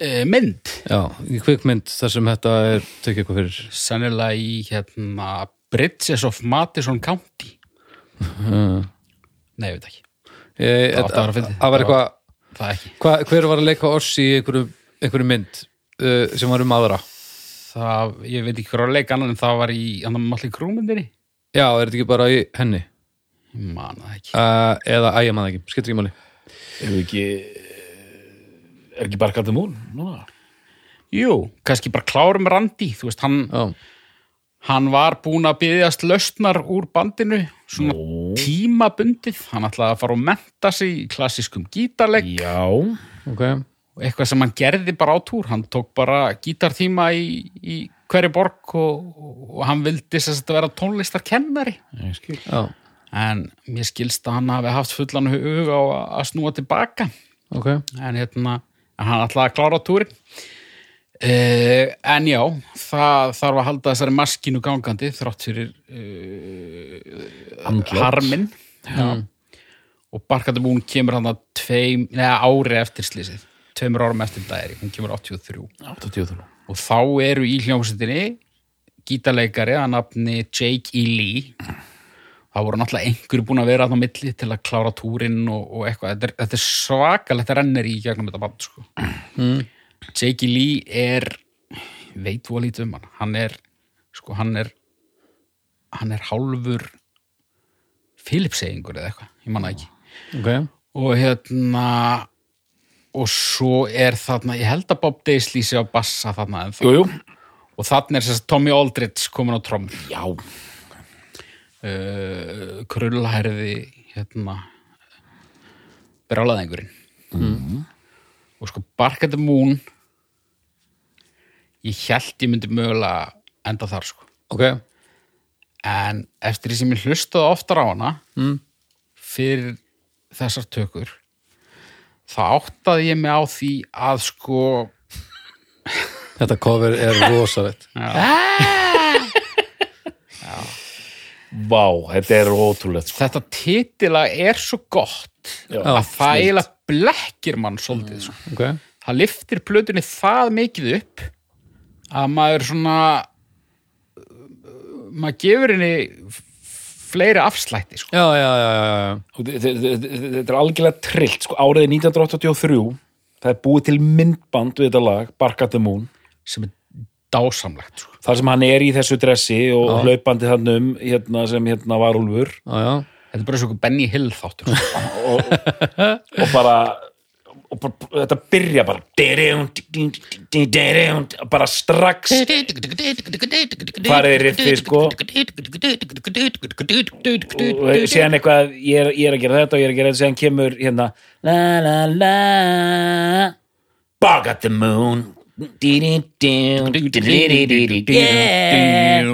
e, mynd
Já, í kvikmynd þar sem þetta er tekið eitthvað fyrir.
sennilega í hérna Bridges of Madison County Nei, ég veit ekki
Ég,
Það átti að vera
þetta-
fyndið.
það var eitthvað,
Það ekki
hva, hver var að leika oss í einhverju, einhverju mynd uh, sem var um aðra?
Það, ég veit ekki hver að leika annan en það var í annan malli krúmyndinni
Já, er þetta ekki bara í henni?
Ég man það ekki
Uh, eða, æ, ég maður ekki, skiptir ekki máli.
Ef ekki eh, er ekki bara kallið mún núna
Jú, kannski bara klárum Randi þú veist, hann,
Já,
hann var búin að byggðast lausnar úr bandinu svona tímabundið hann ætlaði að fara og menta sig í klassískum gítarleik
Já,
ok.
eitthvað sem hann gerði bara á túr hann tók bara gítartíma í, í hverju borg og, og hann vildi sem þetta vera tónlistarkennari
ég skil
Já,
en mér skilst að hann hafi haft fullan hug á að- að snúa tilbaka
ok.
en hérna en hann ætlaði að klára túrin Uh, en já, það þarf að halda þessari maskinu gangandi þrátt fyrir eh, harminn mm. og Barkandi Moon kemur hann að tveim, neða ári eftir slísið tveimur árum eftir dæri, hún kemur 83
83
og þá eru í hljómsveitinni gítarleikari að nafni Jake E. Lee það voru náttúrulega einhverju búin að vera þarna á milli til að klára túrin og, og eitthvað þetta er, þetta er svakalegt rennir í gegnum þetta band sko. Jake E. Lee er veit þú að lítið um hann hann er, sko, hann er hann er hálfur Philipseyingur eða eitthvað, ég manna ekki
Ok,
og hérna og svo er þarna ég held að Bob Daisley sé á bassa þarna en
Jú, jú,
og þarna er sérst Tommy Aldridge komin á trommur
já
uh, krullherði hérna brálaðingurinn mm.
Mhm.
og sko Barkandi Moon ég held ég myndi mögulega enda þar sko
ok.
en eftir því sem ég hlustaði oftar á hana mm. fyrir þessar tökur þá áttaði ég mig á því að sko
Þetta cover er rosalegt.
Vá, þetta er ótrúlegt sko.
þetta titilag er svo gott
Já. Mm.
að það eiginlega blekkir mann svolítið sko.
Ok,
það liftir plötunni það mikið upp að maður svona uh, maður gefur henni f- fleiri afslætti sko.
já, já, já, já, já.
Og þe- þe- þe- þe- Þetta er algjörlega trillt sko. Áriði 1983 Það er búið til myndband við þetta lag Barkat the Moon
sem er dásamlegt sko.
þar sem hann er í þessu dressi og hlaupandi þannig um hérna, sem hérna var úlfur
já, já.
þetta er bara svo Benny Hill þáttur sko.
og bara og bara, þetta byrja bara diriund, diriund, bara strax
farið í riffi sko
og síðan eitthvað, ég er, ég er að gera þetta og ég er að gera þetta, síðan kemur hérna la la la bug at the moon yeah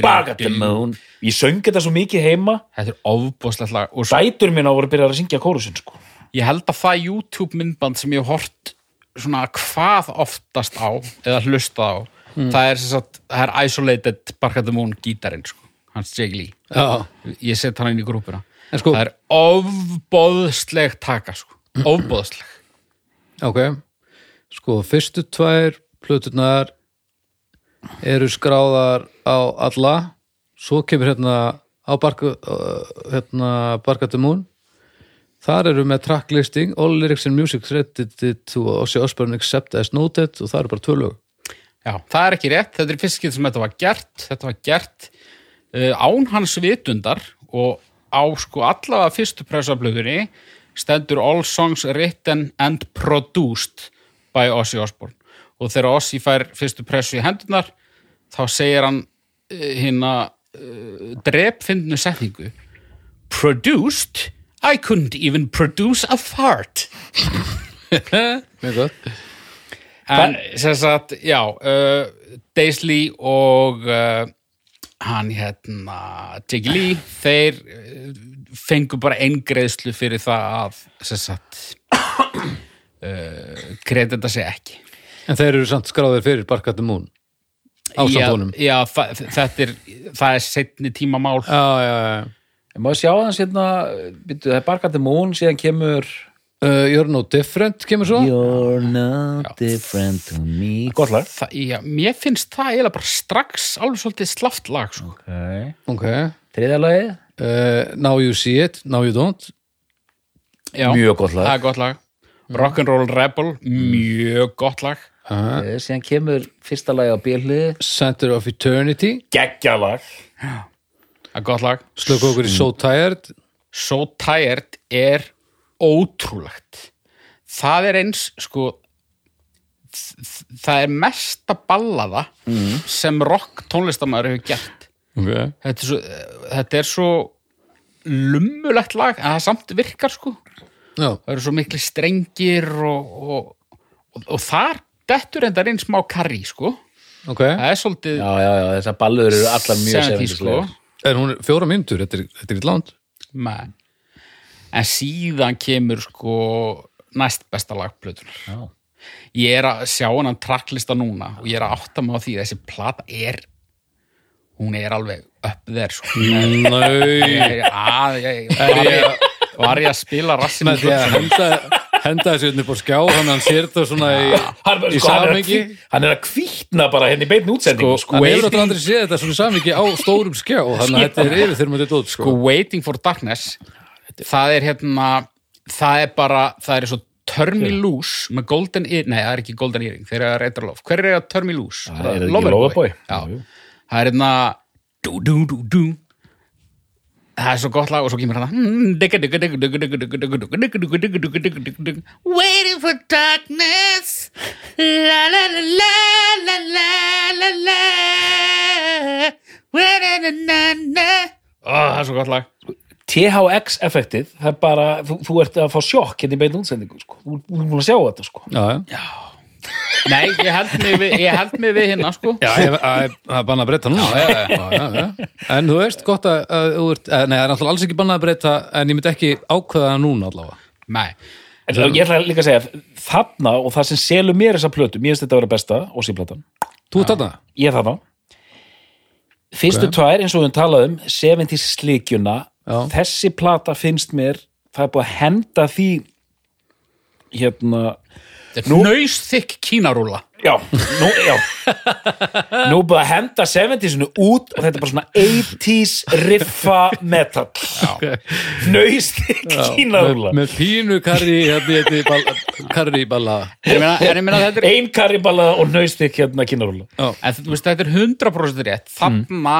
bug at the moon ég söng þetta svo mikið heima
þetta er ofbúðslega lag og svo,
dætur minna voru að byrja að syngja kórusin sko
ég held að það YouTube myndband sem ég hef hort svona hvað oftast á eða hlustað á
Hmm.
það, er, sem sagt, það er isolated Barkandi Moon gítarinn sko, hans Jake Lee
já.
ég set hann inn í grúpuna
En sko-
það er ofbóðsleg taka sko. ofbóðsleg
Ok, sko fyrstu tvær plöturnar eru skráðar á alla svo kemur hérna á barka, uh, hérna barkatumún þar eru með tracklisting all lyrics and music credited to Ossi Osborn except as noted og það eru bara tvö lög
Já, það er ekki rétt, þetta er fyrst skil sem þetta var gert þetta var gert uh, án hans vitundar og á sko allavega fyrstu pressablöðunni stendur all songs written and produced by Ozzy Osbourne og þegar Ozzy fær fyrstu pressu í hendunar þá segir hann uh, hérna uh, drepfindnu setningu Produced? I couldn't even produce a fart
Mjög gott
En sem sagt, já, uh, Daisley og uh, hann hérna Jake Lee, þeir uh, fengu bara eingreiðslu fyrir það að sem sagt uh, kredita sig ekki.
En þeir eru samt skráðir fyrir barkatumún á
Já,
samtónum
Já, þa- þetta er, það er setni tímamál
Já, já, já,
En maður sjá aðeins hérna, byrju, það er Barkandi Moon, síðan kemur
Uh, You're no different kemur svo
You're not different to me Gott lag
Þa, já, mér finnst það eiginlega bara strax alveg svolítið slaft lag sko.
okay.
Ok
Þriðja lagið
uh, Now you see it, now you don't
já,
Mjög gott lag.
það er gott lag Rock'n'Roll Rebel, mjög gott lag
uh,
Eh, Síðan kemur fyrsta lagið á bílhliði
Center of Eternity
Gekkja lag
það er gott lag
Slöku okkur í So Tired
So Tired er ótrúlegt það er eins sko þ- þ- það er mesta ballaða sem rock tónlistamæður hefur gert
okay.
þetta er svo, þetta er svo lummulegt lag en það samt virkar sko
Já,
það eru svo mikli strengir og, og, og, og þar dettur endar einn smá karri sko
ok
það er svolítið
Já, já, já, þessar ballur eru allar mjög
70s, sko.
sefindislegu
En hún er fjóra myndur, þetta er, þetta er eitt land
Men. en síðan kemur sko næst besta lagplötunar ég er að sjá hennan tracklista núna og ég er að átta mig á því að þessi plata er hún er alveg upp þér sko.
Nei
ég, er- að, ég, var, ég, var ég að spila rassin
Með því að henda, henda þessu hérna upp á skjá þannig að hann sér það svona í,
Hann,
í
sko, hann, er að
samhengi
hví- hann er að kvítna bara henni beinu útsendingu sko,
Hann hefur alltaf aldrei séð þetta svona í samhengi á stórum skjá þannig að þetta er yfir þegar maður þetta út sko.
sko Waiting for Darkness það er hérna það er bara, það er svo Turn Me Loose með Golden Earring, nei það er ekki Golden Earring þeir eru að reyta lof, hver er að Turn Me Loose?
Það er ekki Loverboy? Jú,
Já.
jú.
það er hérna dú, dú, dú, dú. það er svo gott lag og svo kemur "Mm, hérna Waiting for Darkness la la la la la la la la Waiting for Darkness Það er svo gott lag
THX-effektið, það er bara þú, þú ert að fá sjokk hérna í beinu útsendingu sko. þú, þú er búin að sjá þetta sko.
Já, já.
Nei, ég held mig við, ég held mig við hérna, sko.
Já, ég- að- að banna að breyta núna já, já, já, já. En þú veist, gott að, að þú ert, að, nei, það er náttúrulega alls ekki bannað að breyta en ég myndi ekki ákveða það núna allavega
Nei,
En ég ætla líka að segja, þarna og það sem selur mér þessa plötu, mér finnst þetta að vera besta og síplatan,
Þú ert þarna?
ég er þarna Fyrstu tvær, eins og við talaðum 70 slikjuna
Já.
þessi plata finnst mér það er búið að henda því hérna
þetta er nöysþykk kínarúla.
já, nú, já nú er búið að henda 70-sinu út og þetta er bara svona 80s riffa metal nöyst kínarúla
Með, með pínu karri, hérna, hérna, bal, karri balla
En ég meina, en ég meina þetta er,
ein kariballa og nöyst hérna kínarúla
en þú veist, þetta er 100% rétt. Þarna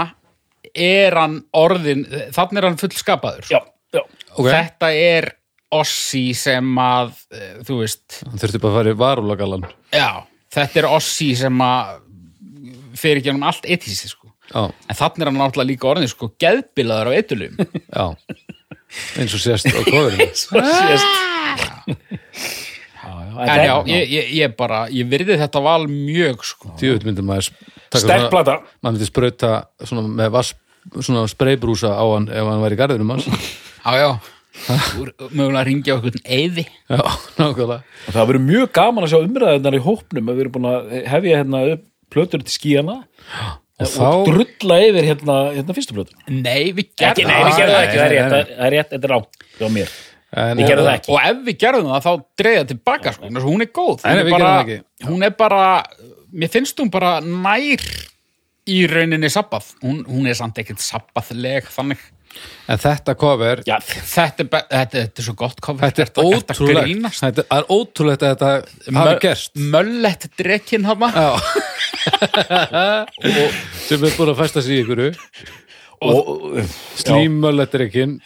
er hann orðin, þarna er hann fullskapaður.
já, já,
Ok,
Þetta er Ossi sem að, eh, þú veist,
hann þurfti bara að fara í varúlagallan
já, þetta er Ossi sem að fyrir ekki hann allt etísi, sko.
Já,
En þarna er hann náttúrulega líka orðin, sko, geðbilaður á eitulum.
já Eins og sést á kofurinn
svo sést já, já,
En já, ég, ég, ég bara, ég virði þetta val mjög, sko.
Djúvitt myndi maður taka
Sterk
svona-
plata.
Maður myndi sprauta svona með vass svona spreybrúsa á hann ef hann væri í garðinum hans
Já, já. Þú er mögulega að ringja okkur eði.
Já, nákvæmlega
Og Það verður mjög gaman að sjá umræðunar í hópnum að við erum búin að hefja hérna upp plötur til skíjana og,
þá-
drulla yfir hérna, hérna fyrstu plötuna.
Nei, við gerðum
nei, við gerðum það ekki, það er rétt, það
það er rétt, þetta er á, á mér.
En,
Ég gerði það ekki.
Og ef við gerðum það, þá dreigði það tilbaka, sko. Þannig að Hún er góð.
Nei,
Hún er,
við gerðum það
bara,
ekki.
hún er bara, mér finnst hún bara nær í rauninni sabbað. Hún, hún er samt ekkert sabbaðleg, þannig.
en þetta cover
Já,
Þetta er, be- þetta, þetta er svo gott kofið.
Þetta er ótrúlegt Þetta er ótrúlegt að þetta hafi gerst
Möllett drekinn hafna.
sem er búin að festa sig í ykkuru
og,
slímölletrekin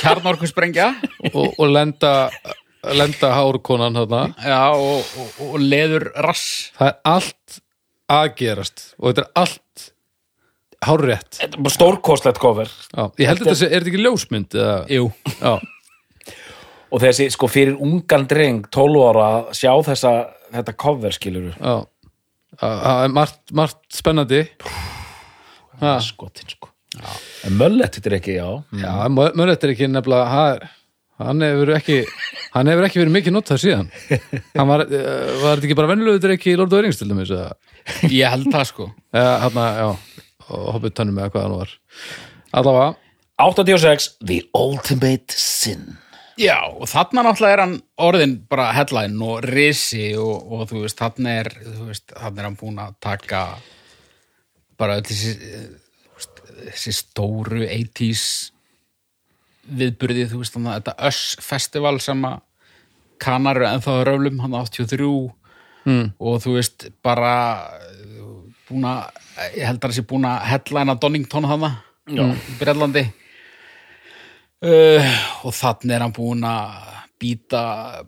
Kjarnorku sprengja.
og, og lenda lenda hárkonan þarna
Já, og, og, og leður rass.
það er allt að gerast og þetta er allt hárrétt
þetta er bara stórkostlegt cover
Já, ég held þetta sé, er þetta ekki ljósmynd eða,
Jú.
já,
og þessi, sko, fyrir ungan dreng 12 ára að sjá þessa, þetta cover, skilur við,
já Það- það er margt, margt spennandi Ha.
skotin, sko. En möllett þetta er ekki, já.
já, mörðetrekin nefnilega það er- hann hefur ekki hann hefur ekki verið mikið notað síðan hann var, uh, var þetta ekki bara venjulegur ekki í Lord of the Rings til dæmis eða hérna,
Ég held það, sko.
Já, hann að, já, hopputanum með hvað hann var. Allavega,
86 The Ultimate Sin
Já, og þarna náttúrulega er hann orðin bara headline og risi og, og þú veist, þarna er, þú veist, þarna er hann búin að taka bara öll þessi, eh, þú veist, þessi stóru 80s viðburði, þú veist, þannig að þetta Öss festival sem að kanar en þá röflum, hann 83 mm. og þú veist, bara búin að, ég held að hann sé búin að headline að Donington þarna í Breitlandi uh, og þannig er hann búinn að býta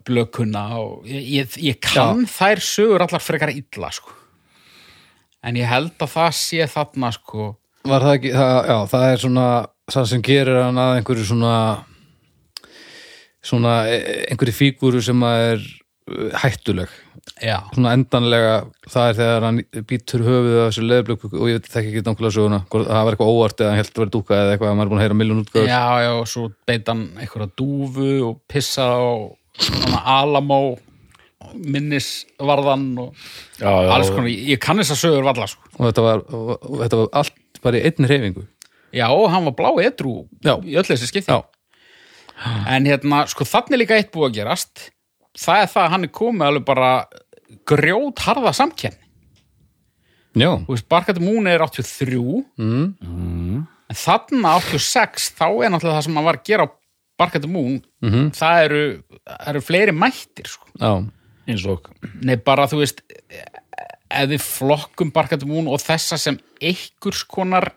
blökunna og ég, ég, ég kann þær sögur allar frekar illa sko. en ég held að það sé þarna sko.
var það ekki, það, já, það er svona það sem gerir hann að einhverju svona svona e- einhverju fígúru sem að er uh, hættuleg
já,
svona endanlega, það er þegar hann býtur höfuðið af þessu leðblöku og ég veit þekki ekki nákvæmlega söguna, hvort- það var eitthvað óvart eða hann held að vera dúka eða eitthvað, maður er búin að heyra miljón útgáður
já, já, og svo beit hann einhverja dúfu og pissa og svona alamó minnisvarðan og
já,
alls konar, ég, ég kann þessar sögur varla sko.
og þetta var, og, og þetta var allt bara í einni reyfingu
já, og hann var blá edru
Já.
í öll þessi skipti En hérna, sko, þannig er líka eitt búið að gerast. Það er það að hann er komið alveg bara grjót harða samkenni.
já,
Þú veist, Barkat Moon er 83,
mm.
en þarna 86, þá er náttúrulega það sem hann var að gera á Barkat Moon,
Mhm.
það eru, það eru fleiri mættir, sko.
já,
eins og
Nei, bara, þú veist, ef við flokkum Barkat Moon og þessa sem einhvers konar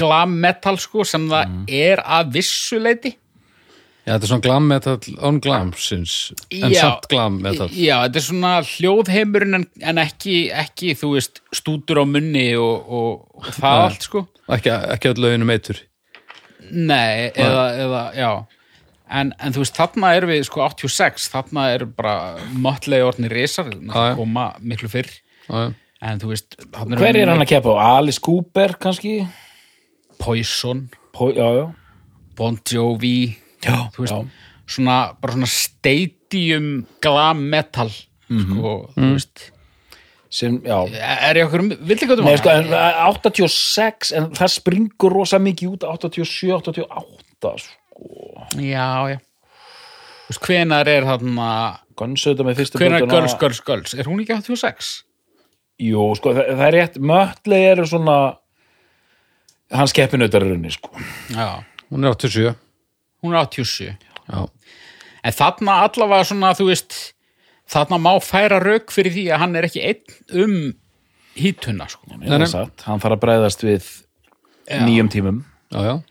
glam metal, sko, sem það
Mm.
er að vissuleiti,
já, þetta er svona glam metal on glam sinns, en
Já.
samt glam metal
Já, þetta er svona hljóðheimurinn en, en ekki, ekki, þú veist, stútur á munni og, og, og það
Nei.
allt, sko.
ekki, ekki öll um löginu meitur
Nei, eða, eða já. En, en þú veist, þarna erum við, sko, 86, þarna er bara mötlega orðni risar,
Já, já.
koma miklu fyrr.
já, já.
En þú veist, þarna
hver er hann að kepa á? Alice Cooper kannski?
Poison,
Pó, já, já,
Bon Jovi,
já,
þú veist, svona, bara svona stadium glam metal,
Mhm.
sko, þú veist.
sem, já
Er ég okkur, um vill ekki að
Nei, sko, en, eh, 86, en það springur rosa mikið út 87, 88 sko.
Já, já. Þú veist, hvenar er þarna,
Gunsauta með fyrstu
hvenar
plötuna-
Girls, Girls, Girls? Er hún ekki 86?
Jú, sko, það, það er rétt Mötley eru svona hans keppinautar í rauninni, sko
Já.
hún er 87
Hún er 87.
já,
En þarna allavega svona, þú veist, þarna má færa rauk fyrir því að hann er ekki einn um hítuna, sko.
Nei, nei. Satt, hann þarf að bregðast við nýjum tímum
já, já,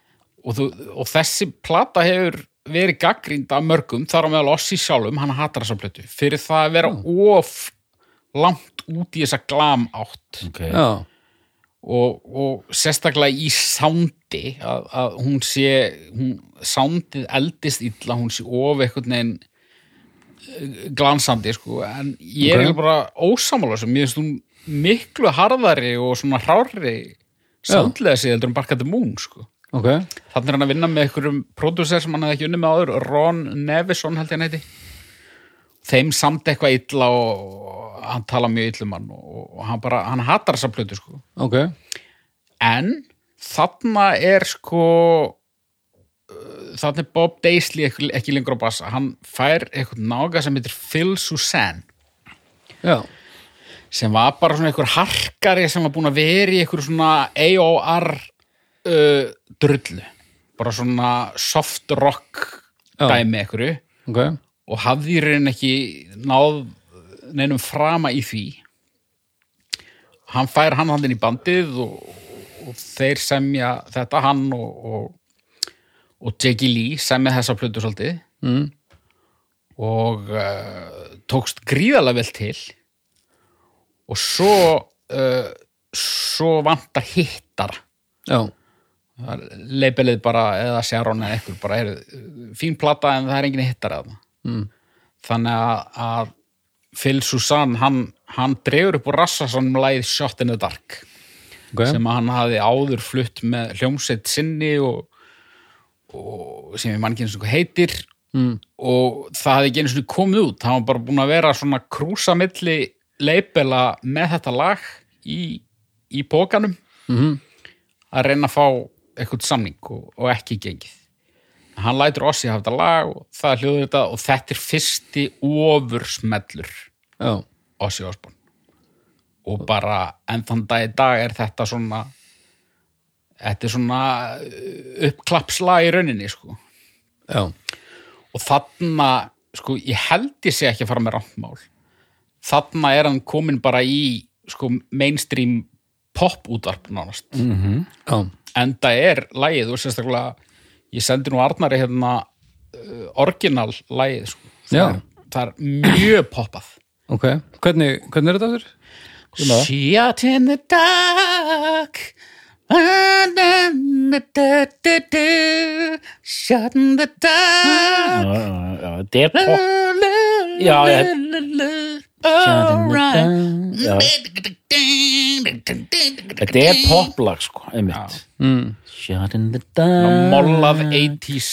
Og, þú, og þessi plata hefur verið gaggrind af mörgum, þar á meðal Ossi sjálfum, hann hatar þessa plötu, fyrir það að vera of langt út í þessa glam átt.
okay.
já. Mm.
og, og sérstaklega í sándi að, að hún sé hún, sándið eldist illa hún sé of einhvern veginn eh, glansandi sko en ég er
Ok.
okay. bara ósamála sem ég finnst hún miklu harðari og svona hrárri
Já.
sándlega sig heldur um Barkandi Moon sko
ok,
þannig er hann að vinna með einhverjum pródúsir sem hann hefði ekki unni með áður, Ron Nevison held ég hann heiti þeim samt eitthvað illa og hann tala mjög illum hann og, og hann bara, hann hatar þessa plötu sko
ok
en þarna er sko uh, þarna er Bob Daisley ekki, ekki lengur á bassa, hann fær eitthvað nága sem heitir Phil Susanne
já,
sem var bara svona einhver harkari sem var búin að vera í einhver svona AOR uh, drullu bara svona soft rock
Já.
dæmi einhverju
ok
og hafði í raun ekki náð neinum frama í því hann fær hann hann inn í bandið og, og þeir semja þetta hann og, og, og Jackie Lee semja þessa plötu svolítið
mm.
og uh, tókst gríðalega vel til og svo uh, svo vantar hittar
já,
leipelið bara eða Sharon eða ekkur bara er eh, fín plata en það er enginn hittar eða
Mm.
þannig að, að Phil Susann hann, hann dregur upp úr rassa sem læð Shot in the Dark
ok
sem að hann hafi áður flutt með hljómsveit sinni og, og sem ég mann ekki eins og heitir
mm.
og það hafði ekki einu svona komið út það var bara búin að vera svona krúsa milli leipela með þetta lag í, í pókanum
Mm
að reyna að fá eitthvað samning og, og ekki gengið hann lætur Ossi hafa þetta lag og það er hljóður þetta og þetta er fyrsti ofursmellur
já,
Ossi Osborn og bara en þann dag í dag er þetta svona þetta er svona uh, uppklappsla í rauninni sko
já,
og þarna, sko, ég held ég sé ekki að fara með ráttmál þarna er hann komin bara í sko, mainstream pop útvarp nánast, mm.
já,
en það er lægið og sérstaklega, ég sendi nú Arnari hérna uh, orginal lægið, sko, það,
Já.
er, það er mjög poppað
ok hvernig, hvernig er þetta aftur?
She out in the dark Shot in the dark
já, já, já, þetta er pop
Já,
Já, ég-
Alright
já, þetta er poplag sko, einmitt
Mm.
Shot in the dark
Mollað 80s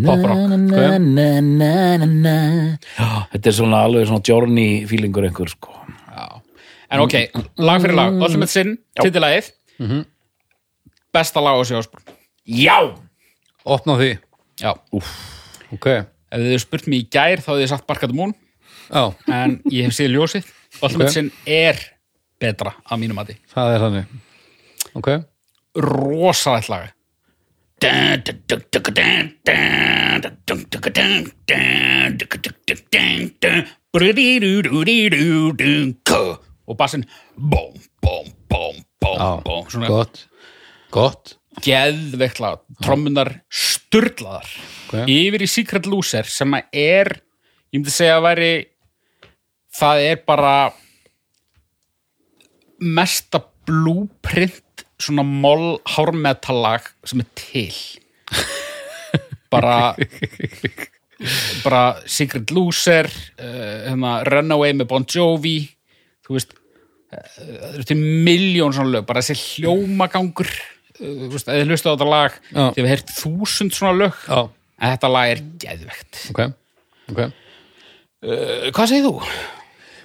poprock.
na, na, na, na, na. Sko, Já, þetta er svona alveg svona Journey feelingur einhver sko
Já. En ok, lag fyrir lag Ultimate Sin, titilagið
Mhm.
Besta lag á sjósbrun
Já,
opna á því,
Já, ef
ok já,
þið hefðu spurt mér í gær þá hefði ég sagt Barkat Moon en ég hef séð ljósið Ultimate
Ok.
Sin er betra að mínum mati
það er þannig ok,
rosalegt lag og bassin bóm, bóm, bóm, bóm, bóm svona
gott gott,
geðveikt lag trommunar sturlaðar
Ok.
yfir í Secret Loser sem að er ég myndi segja að væri það er bara mesta blúprint svona moll hármetalag sem er til bara bara Secret Loser uh, hérna, Runaway með Bon Jovi þú veist það eru til miljón svona lög, bara þessi hljómagangur uh, þú veist, eða hlustu á þetta lag
Já.
þið hefur heyrt þúsund svona lög
Já.
en þetta lag er geðvegt
ok ok,
uh, hvað segir þú?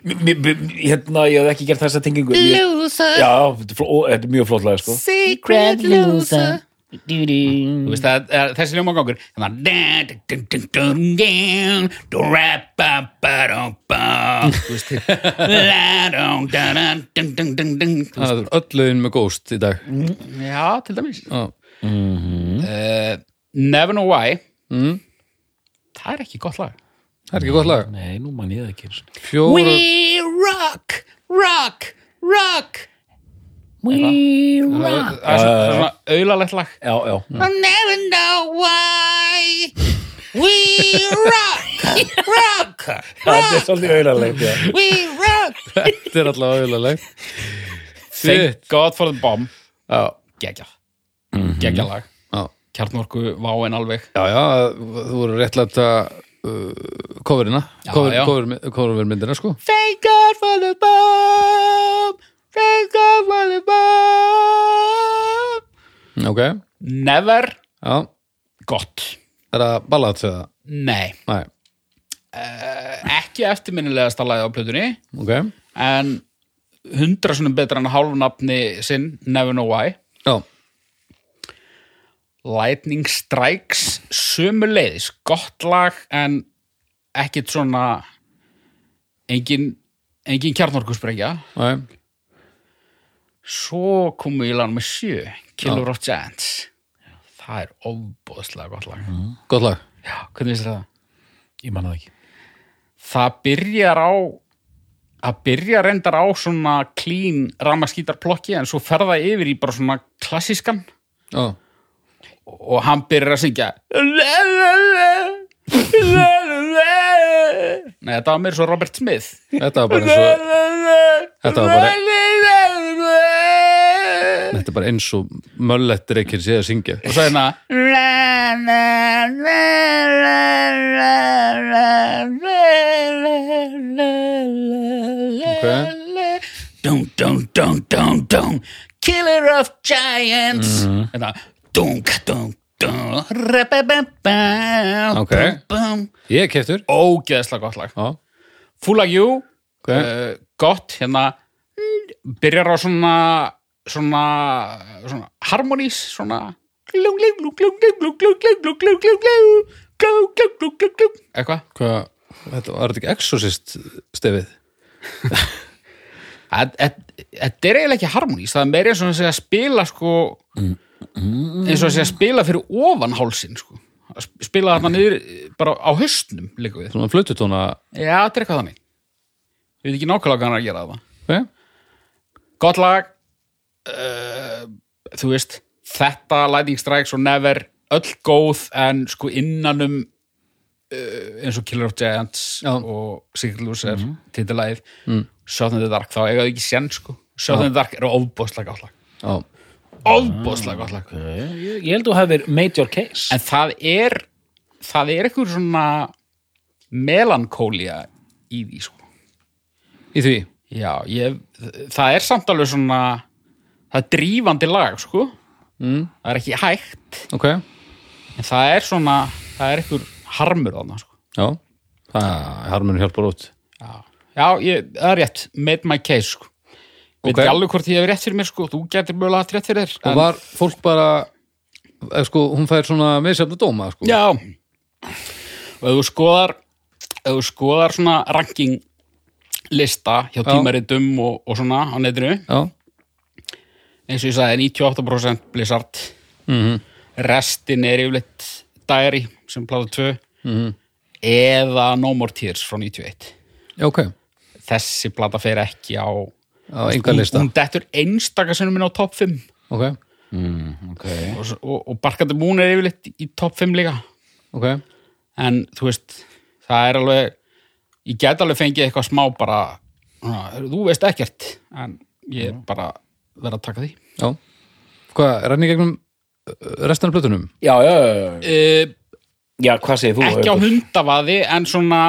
M- m- m- hérna, ég hef ekki gert þessa tengingu Mér-
Loser,
Já, þetta er fló- ó, þetta er mjög flott lag sko
secret loser.
Þú veist, það, það, þessi hljómagangur þannig
það er öll lögin með ghost í dag
já, til dæmis
já,
uh, Never Know Why það er ekki gott lag
það er ekki gott lag
Nei, nú man ég það ekki einu sinni.
fjóra,
We rock, rock, rock
We
Það er- það er svona- það er svona auðalegt lag
Já, já,
will never know why. We rock, rock,
þetta er svolítið auðarlegt
we rock.
þetta er allavega auðvitað
Thank God for the Bomb
já,
Gekja Gekja lag
já
Kjarnorku váin alveg
Já, já, þú voru réttlætt að uh, coverina,
Já,
cover,
já.
cover, covermyndina, sko.
Thank God for the Bomb Thank God for the Bomb
Ok,
Never
já,
Gott
er það ballat eða?
Nei
Nei,
Ekki eftirminnilegasta lagið á plötunni
ok,
En hundra svona betra en hálfnafni sinn Never Know Why
já,
Lightning Strikes sömuleiðis, gott lag en ekkit svona engin engin kjarnorkusprengja
nei,
svo komu í land með sjö Killer of Giants það er ofbóðslega gott lag
gott lag.
já, hvernig veist það?
Mhm. Ég man það ekki
það byrjar á það byrjar reyndar á svona clean ramaskítarplokki en svo ferða yfir í bara svona klassískan
Já,
og hann byrjar að syngja Nei, þetta var meira svo Robert Smith
þetta var bara eins og, þetta var bara, þetta er bara eins og möllettir ekki sé að syngja.
og svo hérna Dung, dung, dung, dung, dung Killer of Giants
Mm-hmm.
Þetta Dung, dung, dung Rabababam
Ok.
bum.
Ég er keftur,
Ógeðslega gott lag
já,
Full Like You Eh,
ok,
uh, gott hérna byrjar á svona svona, svona harmonís svona glung, glung, glung, glung, glung, glung, glung, glung, glung, glung, glung, glung, glung, glung, glung, glung, glung. eitthvað
Hvað, þetta var þetta ekki exorcist stefið?
Þetta þetta er eiginlega ekki harmonís það er meira eins og að segja að spila sko, eins og að segja að spila fyrir ofan hálsin sko. Að sp- spila þarna niður eh, bara á haustnum líka við
Svona flututóna,
Já, þetta er eitthvað þannig Við veit ekki nákvæmlega hvað hann er að gera það
ok?
Gott lag uh, Þú veist, þetta Lightning Strikes og Never öll góð en sko innanum uh, eins og Killer of Giants
Já. Mhm.
og Secret Loser mm -hmm. titilæð, mm. Southern the Dark þá eiga þau ekki sén sko Southern the Dark eru ofbóðslega gott lag
Já,
ofbóðslega gott lag
Ég ég held þú hefur made your case
en það er það er eitthvað svona melankólia í því sko
í því.
Já, ég, það er samt alveg svona það er drífandi lag, sko mm. það er ekki hægt
Ok,
en það er svona, það er einhver harmur þarna, sko
já. Það harmunir hjálpar út.
Já, Já ég, það er rétt, made my case, sko okay. veit
Ok.
ekki alveg hvort ég hef rétt fyrir mér, sko þú getur mögulega haft rétt fyrir þér
Og
en-
var fólk bara, eða sko, hún fær svona meðsefna dóma, sko.
Já og ef þú skoðar ef þú skoðar svona ranking lista hjá tímaritum og, og svona á netinu
Já,
eins og ég sagði 98% Blizzard restin er yfirleitt Diary sem plata 2 eða No More Tears frá 91
já ok.
þessi plata fer ekki á
Á enga lista.
hún, hún dettur einstakasinu minn á topp 5
Ok,
okay.
og, s- og, og Barkandi Moon er yfirleitt í topp 5 líka
ok.
en þú veist, það er alveg ég get alveg fengið eitthvað smá bara, svona, þú veist ekkert en ég bara verð að taka því
Já. Hvað, renni í gegnum uh, restan af plötunum?
já, já, já, já.
uh,
já, hvað segir þú?
Eh, ekki á
Haukur?
hundavaði en svona,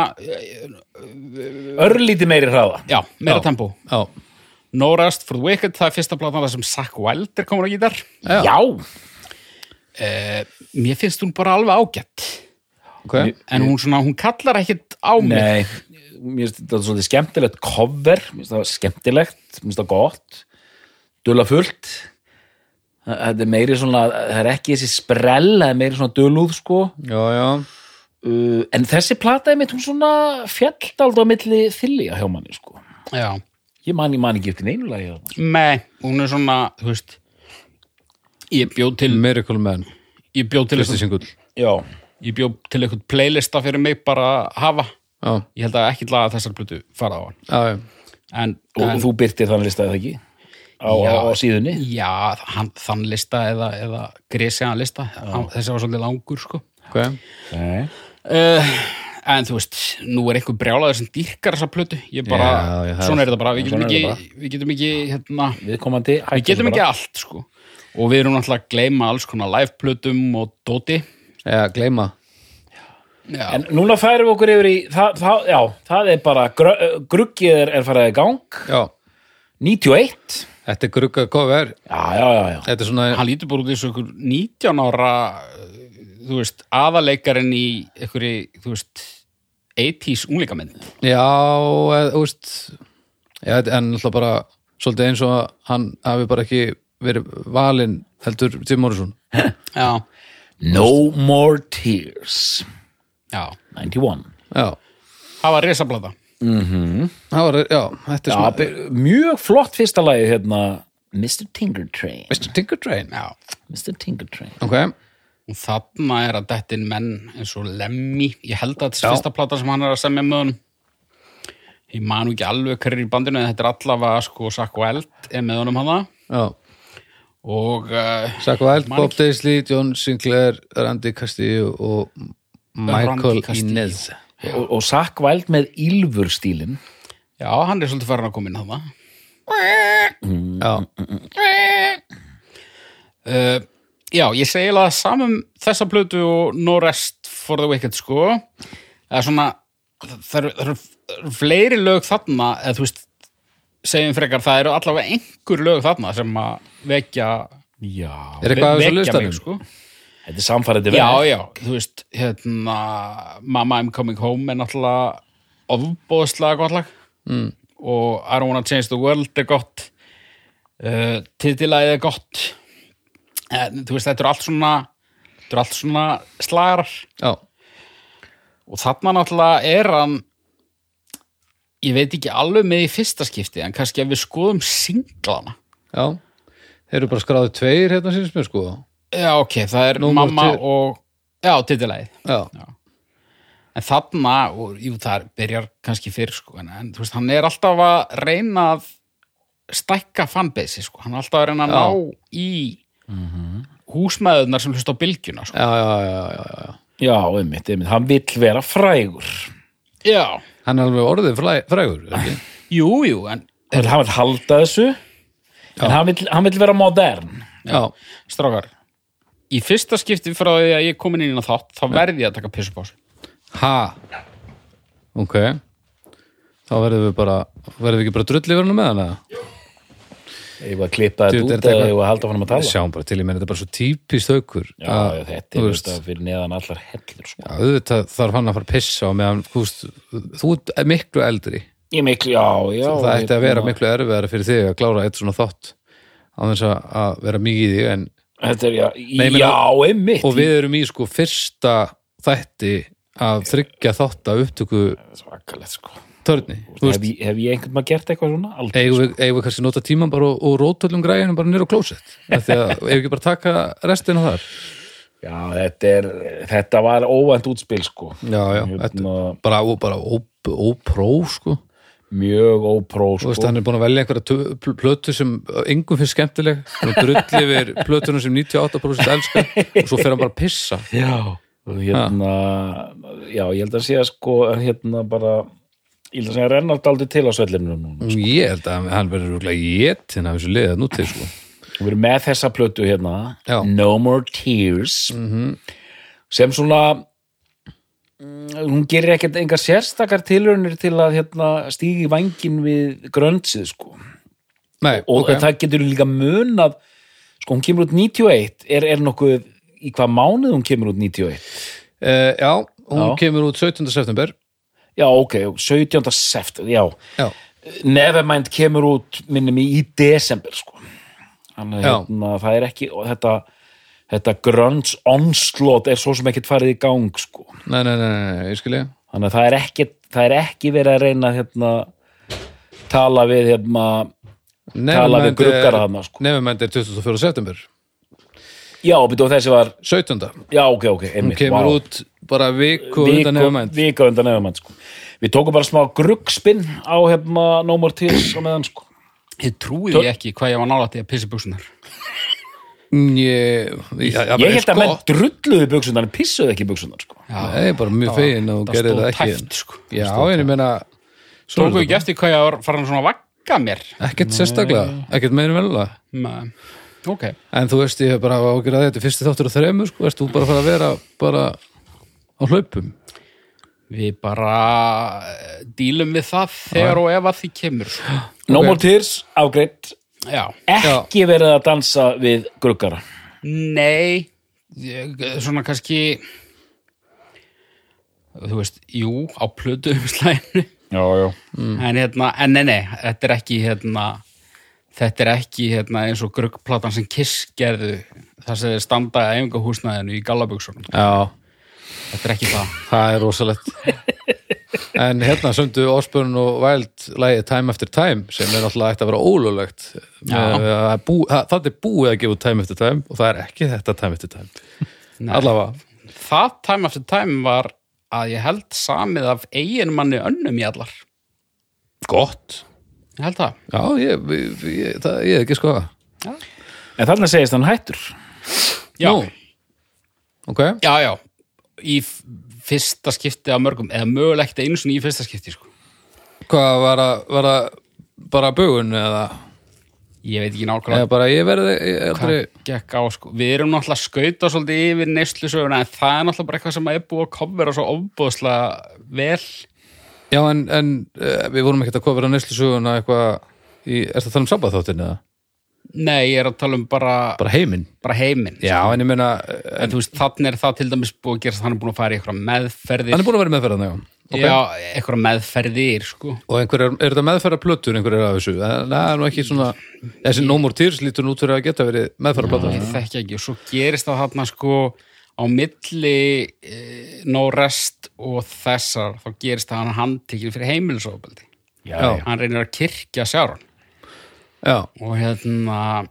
Örlítið meiri hraða
já, meira
Já.
tempó
Já.
No Rest for the Wicked, það er fyrsta platan þar sem Zack Wild er komin á gítar
Já.
mér finnst hún bara alveg ágætt
Ok,
en hún, svona, hún kallar ekkit á mig
Nei, mér finnst þetta svolítið skemmtilegt cover, mér finnst það skemmtilegt, mér finnst það gott, dulafullt, Þa- þetta er meiri svona, það er ekki þessi sprell, það er meiri svona dulúð sko,
já, já.
uh, en þessi plata er mitt hún svona fjallt aldrei á milli þilja hjá manni sko.
Já.
Ég man, ég man ekki eftir neinu lagi sko. hjá manni.
Nei, hún er svona þú veist ég bjóð til,
Miracle Man,
ég bjó til
fyrsti singull.
Já.
ég bjó til eitthvað playlista fyrir mig bara að hafa
Já,
ég held að ekki laga þessar blutu fara á hann
já, já.
en,
Og
en
þú byrtir þannig listaði það ekki? Á,
Já.
á, á síðunni?
já, hann, þann lista eða, eða grisjaðan lista hann, þessi var svolítið langur sko
Ok,
Nei.
uh, en þú veist, nú er einhver brjálaður sem dýrkar þessa plötu ég bara,
Já, já, það er-
svona er þetta bara við getum
svona er
ekki,
þetta
við getum ekki hérna,
Viðkomandi
við
hættir
getum
þessu
ekki
bara.
allt sko. og við erum náttúrulega að gleyma alls konar liveplötum og dóti
já, gleyma.
já,
En núna færum við okkur yfir í, það, það, já, það er bara, gr gruggið er, er farið í gang,
Já,
91
þetta er grugga cover.
Já, já, já, já.
Þetta er svona,
hann lítur bara út eins og einhver 19 ára uh, þú veist, aðaleikarinn í einhverju, þú veist 80s unglingamenn
já, eða, þú veist, já, þetta er náttúrulega bara svolítið eins og að hann hafi bara ekki verið valinn heldur Tim Morrison.
já,
No More Tears
já,
91
Já,
það var resablata
það var, já, þetta er
Já,
svona,
be- mjög flott fyrsta lagi hérna Mr. Tinker Train
Mr. Tinker Train.
já,
Mr. Tinker Train
Ok,
og þarna er að dettin menn eins og Lemmy, ég held að þetta
Já.
er fyrsta plata sem hann er að semja með honum ég manu ekki alveg hverjir í bandinu en þetta er allavega sko Sakko Eld er með honum hana
já.
og uh,
Sakko Wild,
Man
Bob Daisley, John Sinclair, Randy Castillo og Michael
Randy Castillo.
Inez.
og, og sakkvæld með Ylfur stílin
já, hann er svolítið farin að koma inn hana
Já,
uh, já, ég segi eiginlega það samum þessa plötu og No Rest for the Wicked sko það er svona það eru- það eru er fleiri lög þarna eða þú veist, segjum frekar það eru allavega einhver lög þarna sem að vekja
Já
er eitthvað að þessu
vekja
listanum?
mig sko
Þetta er samfærandi vel
Já, já, þú veist, hérna, Mama I'm Coming Home er náttúrulega ofbóðslega gott lag mm. og I Don't Wanna Change the World er gott uh, titilæðið er gott en, þú veist þetta er allt svona þetta er allt svona slagar
já,
og þarna náttúrulega er hann ég veit ekki alveg með í fyrsta skipti en kannski ef við skoðum singlana
já þeir eru bara skráðið tveir hérna síns mér sko
já ok, það er
Númer
mamma
tvö.
og já, titilæðið
já,
en þarna, og jú, það byrjar kannski fyrr, sko, en, en þú veist, hann er alltaf að reyna að stækka fanbase, sko, hann er alltaf að reyna að
Já.
ná í húsmaðurnar sem hlusta á bylgjuna, sko
já, já, já, já, já.
Já, einmitt, einmitt, hann vill vera frægur
Já,
hann er alveg orðið fræ, frægur er ekki?
jú, jú, en
Hann vill- hann vill halda þessu en hann vill, hann vill vera modern
já,
strákar, í fyrsta skipti frá því að ég er komin inn í þátt, þá verði ég að taka pissupásu.
ha ok þá verðum við bara verðum við ekki bara drull yfir hann með hana
Ég var að klippa
Dude,
þetta
er
út
þetta
eða
eitthvað-
ég var að halda hann að tala Já,
sjáum bara til, ég meina þetta er bara svo típist aukur
já, þetta er
veist,
þetta fyrir neðan allar hellur sko.
já, auðvitað þarf hann að fara að pissa á meðan, þú veist, þú er miklu eldri
Ég miklu, já, já
það
ég-
ætti að vera miklu erfiðara fyrir þig að klára eitt svona þátt á þess að- að vera mikið í þig en,
Þetta er, já,
Nei, ég meina-
já, einmitt
og við erum í sko fyrsta þætti að þryggja þátt að upptöku
Svakalegt, sko
törni þú
hef,
veist,
ég- hef ég einhvern maður gert eitthvað svona? Aldrei
eigum við, eigum við kannski nota tíman bara og, og rótöllum græðinu bara nýra á klósett af því að eigum við ekki bara taka restina þar
Já, þetta er, þetta var óvænt útspil, sko
já, já, þetta,
Hérna,
bara, og bara óp- ópró sko
Mjög
Þú
ópró, sko
veist, hann er búin að velja einhverja tö- pl- plötu sem engum finnst skemmtileg hann drulli yfir plötunum sem 98% elska og svo fer hann bara að pissa
Já, og hérna, já, ég held að sé að sko, hérna bara, ég held að segja að Rennald aldrei til á svellinu núna.
ég held að hann verður rúglega jétin af þessu liða nú til sko
Við erum með þessa plötu hérna,
Já. Mhm.
No More Tears, sem svona, mm, hún gerir ekkert enga sérstakar tilraunir til að hérna stígi vangin við gröndsið sko.
Nei,
Og
ok.
það getur líka munað, sko, hún kemur út 91, er, er nokkuð, í hvað mánuð hún kemur út 91?
Eh, já, hún
Já.
kemur út 17. september
Já, ok, 17. september, já.
já,
Nevermind kemur út minni mig í desember sko. Þannig
Já.
að hérna, það er ekki og þetta, þetta grunge onslaught er svo sem ekkert farið í gang sko.
nei, nei, nei, nei, nei ég skilja
þannig að það er ekki, það er ekki verið að reyna að, hérna, tala við hérna, Tala við gruggara þarna, sko.
Nefumænd er 24. september
já, betur þessi var
17.
já, ok, ok,
hún
einmitt,
kemur
vá.
út bara viku
Viku-
undan nefumænd
viku undan Nevermind sko. við tókum bara smá gruggspinn á hérna, No More Tears á meðan sko.
Ég trúið ég ekki hvað ég var nálætti að pissa busunar.
Mm, ég, sko. ég, ég,
ég held að menn drulluðu buksunar en pissuðu ekki buksunar sko.
Nei, bara mjög fegin að hún gerði það ekki
Tæft, sko.
Já, en ég meina svo er
Tóku
þetta
ekki eftir hvað ég var farin svona að vagga mér.
bara- Ekkert sérstaklega, ekkert meðinu velula
Ma, ok.
En þú veist, ég hef bara ágjur að þetta er fyrsti þáttur og þremur, sko, veist, þú bara að fara að vera bara á hlaupum
Við bara eh, dílum við það þegar og ef að því kemur. sko.
No
Ok.
More Tears, afgreitt
Já.
ekki verið að dansa við gruggara
Nei, ég, eh, svona kannski, þú veist, jú, á plötu umslæðinu.
já, já.
En hérna, en nei, nei, þetta er ekki hérna, þetta er ekki hérna eins og gruggplatan sem Kiss gerðu þar sem þeir standa að einhver húsnaðinu í gallabugsunum.
Já,
Þetta er ekki það.
það er rosalegt En hérna söndu Osborn og Wild lægi Time After Time sem er náttúrulega ætti að vera ólulegt Það er búið að gefa út Time After Time og það er ekki þetta Time After Time Allavega,
Það time after time var að ég held samið af eigin manni önnum í allar.
gott
Ég held það.
Já, ég, ég, ég, það, ég ekki sko það
en þarna segist hann hættur
Já,
Nú. Ok,
já, já. Í f- fyrsta skipti af mörgum, eða mögulega ekkert einu svona í fyrsta skipti, sko.
hvað var að, var að bara bugun eða,
Ég veit ekki nákvæmlega
eða bara ég verði ég aldrei,
gekk á sko, við erum náttúrulega að skauta svolítið yfir neyslusöguna en það er náttúrulega bara eitthvað sem er búið að kofvera svo ofbúðslega vel
Já, en, en eh, við vorum ekkert að kofra neyslusuguna eitthvað í, er það að tala um sabbaþáttin eða?
nei, ég er að tala um bara,
Bara heiminn
bara heiminn sko.
Já, en ég meina, eh,
en þú veist, þannig er það til dæmis búið að gera þannig búin að fara í eitthvað meðferðir
hann er búin að vera meðferðan, já
já, eitthvað meðferðir sko.
og einhverjar, er þetta meðfæra plötur einhverjar af þessu, en það er nú ekki svona þessi No More Tears lítur nú út fyrir að geta verið meðfæra plata
ég þekki ekki og svo gerist það þarna sko á milli e, no rest og þessar þá gerist það hann handtekinn fyrir heimilisofbeldi
já,
Já.
hann reynir að kirkja sjáran
já,
og hérna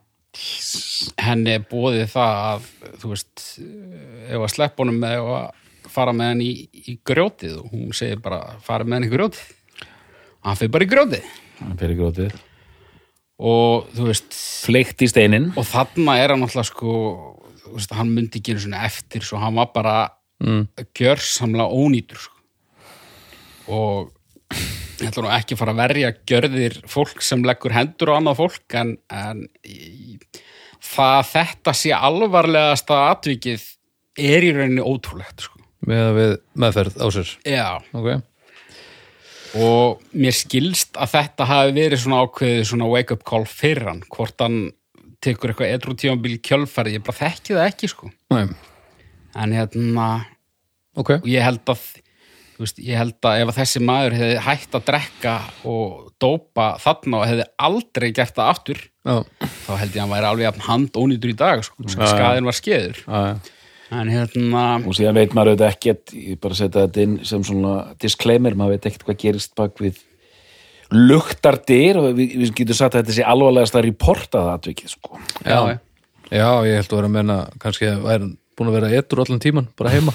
henni er bóðið það að þú veist eh, ef að sleppa honum með ef að fara með hann í, í grjótið og hún segir bara fara með hann í grjótið hann fyrir bara í grjótið
hann fyrir grótið
og þú veist
fleikt í steinin
og þarna er hann alltaf sko þú veist, hann myndi ekki einu svona eftir svo hann var bara mm. gjörsamlega ónýtur sko. og ég ætla nú ekki að fara að verja gjörðir fólk sem leggur hendur á annað fólk en, en í- það að þetta sé alvarlegasta atvikið er í rauninni ótrúlegt sko.
með, við meðferð á sér
Já,
ok,
og mér skilst að þetta hafi verið svona ákveðið svona wake up call fyrir hann, hvort hann tekur eitthvað edru tímabili kjölfæri, ég bara þekki það ekki sko
Nei.
en hérna,
ok,
og ég held að þú veist, ég held að ef að þessi maður hefði hætt að drekka og dópa þarna og hefði aldrei gert það aftur,
já,
þá held ég að hann væri alveg jafn handónýtur í dag, sko, skaðin var skeður
já, já.
en hérna,
og síðan veit maður auðvitað ekkert ég bara setja þetta inn sem svona disclaimer, maður veit ekkert hvað gerist bak við luktardir og við, við getum sagt að þetta sé alvarlegast að reporta það atvikið sko.
já, já.
já, ég held að vera að menna kannski að væri hann búin að vera ettur allan tíman, bara heima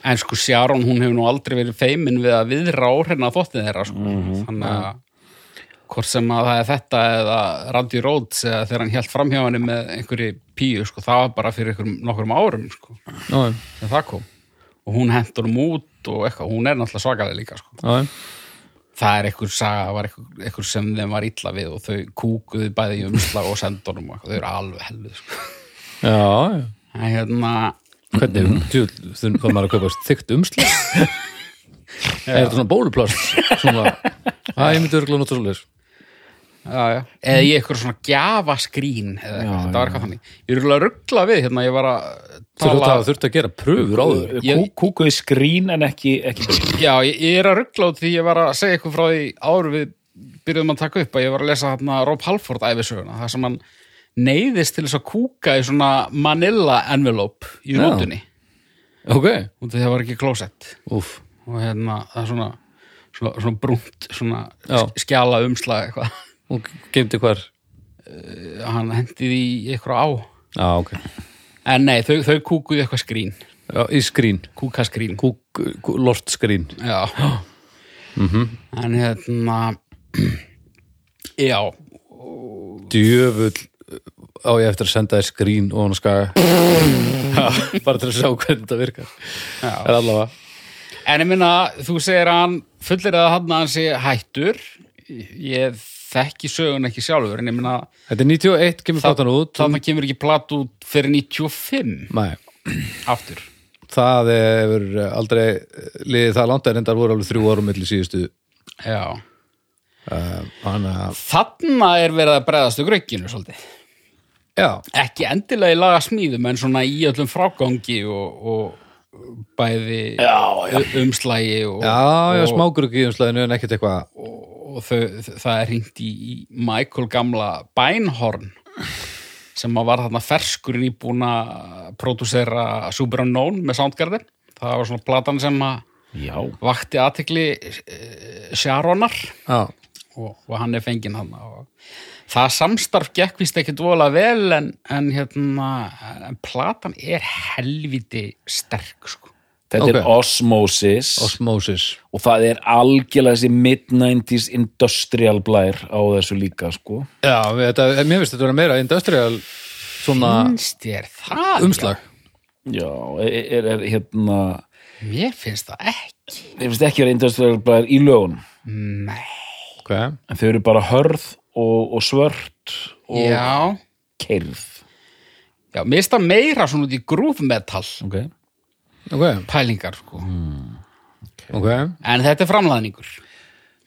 En sko Sjáron, hún hefur nú aldrei verið feimin við að viðra áhrifna þóttið þeirra sko. þannig að hvort sem að það er þetta eða Randy Rhodes eða þegar hann held framhjá henni með einhverju píu, sko, það var bara fyrir einhverjum nokkrum árum, sko,
já, já,
þegar það kom og hún hendur honum út og eitthvað, hún er náttúrulega svakalega líka, sko
já,
það er einhver saga, það var einhver, einhver sem þeim var illa við og þau kúkuðu bæði í umslag og sendunum og eitthvað, þau eru alveg helvið, sko
já, já.
en hérna,
hvernig, djú, þurfum hvað maður að kaupa þygt umslag er þetta svona bóluplast svona, að ég myndi örgulega nota svolítið
já, já. eða í eitthvað svona gjafaskrín eða eitthvað, þetta var eitthvað þannig ég er rúlega ruggla við hérna, ég var að
þurftu
tala,
að, þurftu að gera pröfur áður
Kú,
Ég-
kúkuði skrín en ekki, ekki brýn.
já, ég, ég er að ruggla út því ég var að segja eitthvað frá því áru við byrjuðum að taka upp að ég var að lesa hérna Rob Halford æfisöguna, það sem hann neyðist til þess að kúka í svona Manila envelope í
Já.
rútunni
ok,
út af því það var ekki klósett
úf,
og hérna, það er svona svona, svona brúnt, svona
Já.
skjala umslag eitthvað,
hún geimdi hvar
hann hendið í eitthvað á,
já, ok,
en nei, þau, þau kúkuðu í eitthvað skrín,
já, í skrín
kúkaskrín
kúk, kú, lortskrín
Já. En hérna, já,
djöfull á ég eftir að senda þér skrín og hann skaga Já, bara til að sjá hvernig þetta virkar er allavega
en ég minna, þú segir að hann fullir að hann að hann sé hættur, ég þekki sögun ekki sjálfur, en ég minna,
þetta er 91, kemur platan út
þannig kemur ekki plat út fyrir 95
Nei,
aftur.
það hefur aldrei liðið það langt en reyndar voru alveg þrjú árum milli síðustu
Já.
þannig að,
Þarna er verið að bregðast úr graukinu svolítið.
já,
Ekki endilega í laga smíðum, en svona í öllum frágangi og, og bæði já, já. umslægi og,
já, já,
og,
smágrugg í umslæðinu en ekkert eitthvað,
og þau, það er hringt í, í Michael gamla Bænhorn sem að var þarna ferskurinn í búin að pródúsera Super Unknown með Soundgarden það var svona platan sem að
já,
vakti aðtekli Sharonar
já,
og, og hann er fenginn hann og það samstarf gekk vist ekki dvola vel en, en hérna en platan er helviti sterk sko
þetta
Ok.
er osmosis
osmosis
og það er algjörlega þessi mid-90s industrial blær á þessu líka sko.
já, við- þetta, mér finnst þetta vera meira industrial svona
finnst þér það?
umslag
já, er, er, er hérna
Mér finnst það ekki
ég finnst ekki að industrial blær í lögun
ok,
en þau eru bara hörð og, og svört og
Já
keirð
Já, mér finnst það meira svona út í groove metal
okay.
ok,
pælingar, sko.
ok,
En þetta er framlæðningur.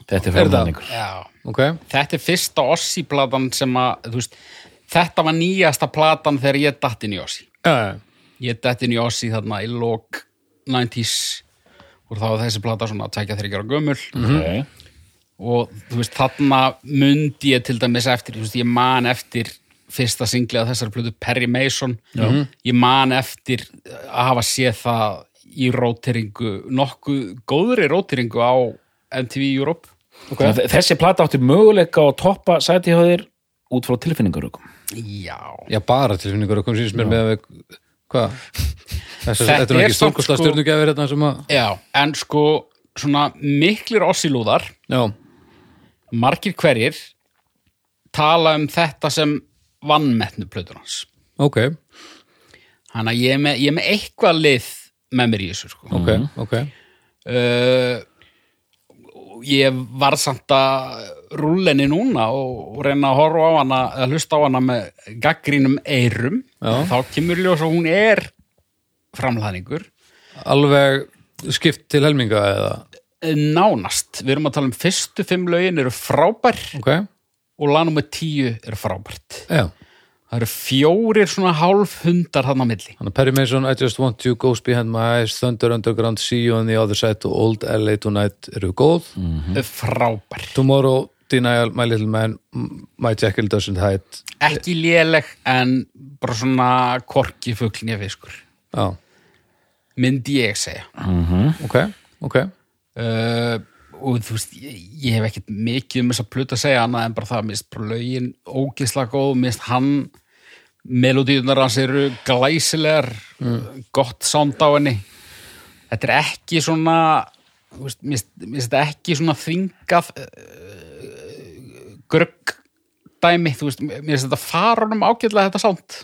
þetta er
Er það?
framlæningur
Já.
ok
Þetta er fyrsta Ossi-platan sem að, þú veist, þetta var nýjasta platan þegar ég datt inn í Ossi.
já, já,
Ég datt inn í Ossi þarna í lok 90s og og þá var þessi plata svona að tækja þeirra gömul
okay.
og þú veist, þarna myndi ég til dæmis eftir, þú veist, ég man eftir fyrsta singli að þessari plötu Perry Mason, Já. Mhm. ég man eftir að hafa séð það í róteringu, nokkuð góðri róteringu á MTV Europe
Okay. Þessi plata átti möguleika á að toppa sæti hjá þér út frá tilfinningarökum.
Já,
Já, bara tilfinningur að koma síðan mér með að við, hvað? Þessar,
Þetta
þetta er nú
er
ekki
samt
stórkostlega
sko-
stjörnugjafir þetta sem að,
Já. en sko svona miklir ossilúðar
já,
margir hverjir tala um þetta sem vannmetnu plötur hans
ok,
þannig að ég er með, ég er með eitthvað lið með mér í þessu sko.
ok, ok.
uh, ég var samt að rúlenni núna og, og reyna að horfa á hana að hlusta á hana með gaggrínum eyrum
Já.
þá kemur ljós og hún er framlæðningur
Alveg skipt til helminga eða,
Eh, nánast, við erum að tala um fyrstu fimm lögin eru frábær
ok,
og lag nummer tíu er frábært
já.
það eru fjórir svona hálf hundar hann á milli
Þannig að Perry Mason, I just want you, Ghost Behind My Eyes, Thunder Underground, See You on the Other Side, og Old LA Tonight eru góð.
Mm. frábær,
Tomorrow, Denial, My Little Man, M- My Jekyll Doesn't Hide.
ekki léleg en bara svona korki fuglin ég fiskur,
Já,
myndi ég segja
ok, ok.
uh, og þú veist ég, ég hef ekkert mikið um þess að pluta að segja annað en bara það, mist bara lögin ógisla góð, mist hann melodíunar hans eru glæsilegar gott sound á henni þetta er ekki svona þú veist, mist, mist þetta ekki svona þvingað uh, grögg dæmi, þú veist, mér finnst þetta farunum ágætlega þetta sound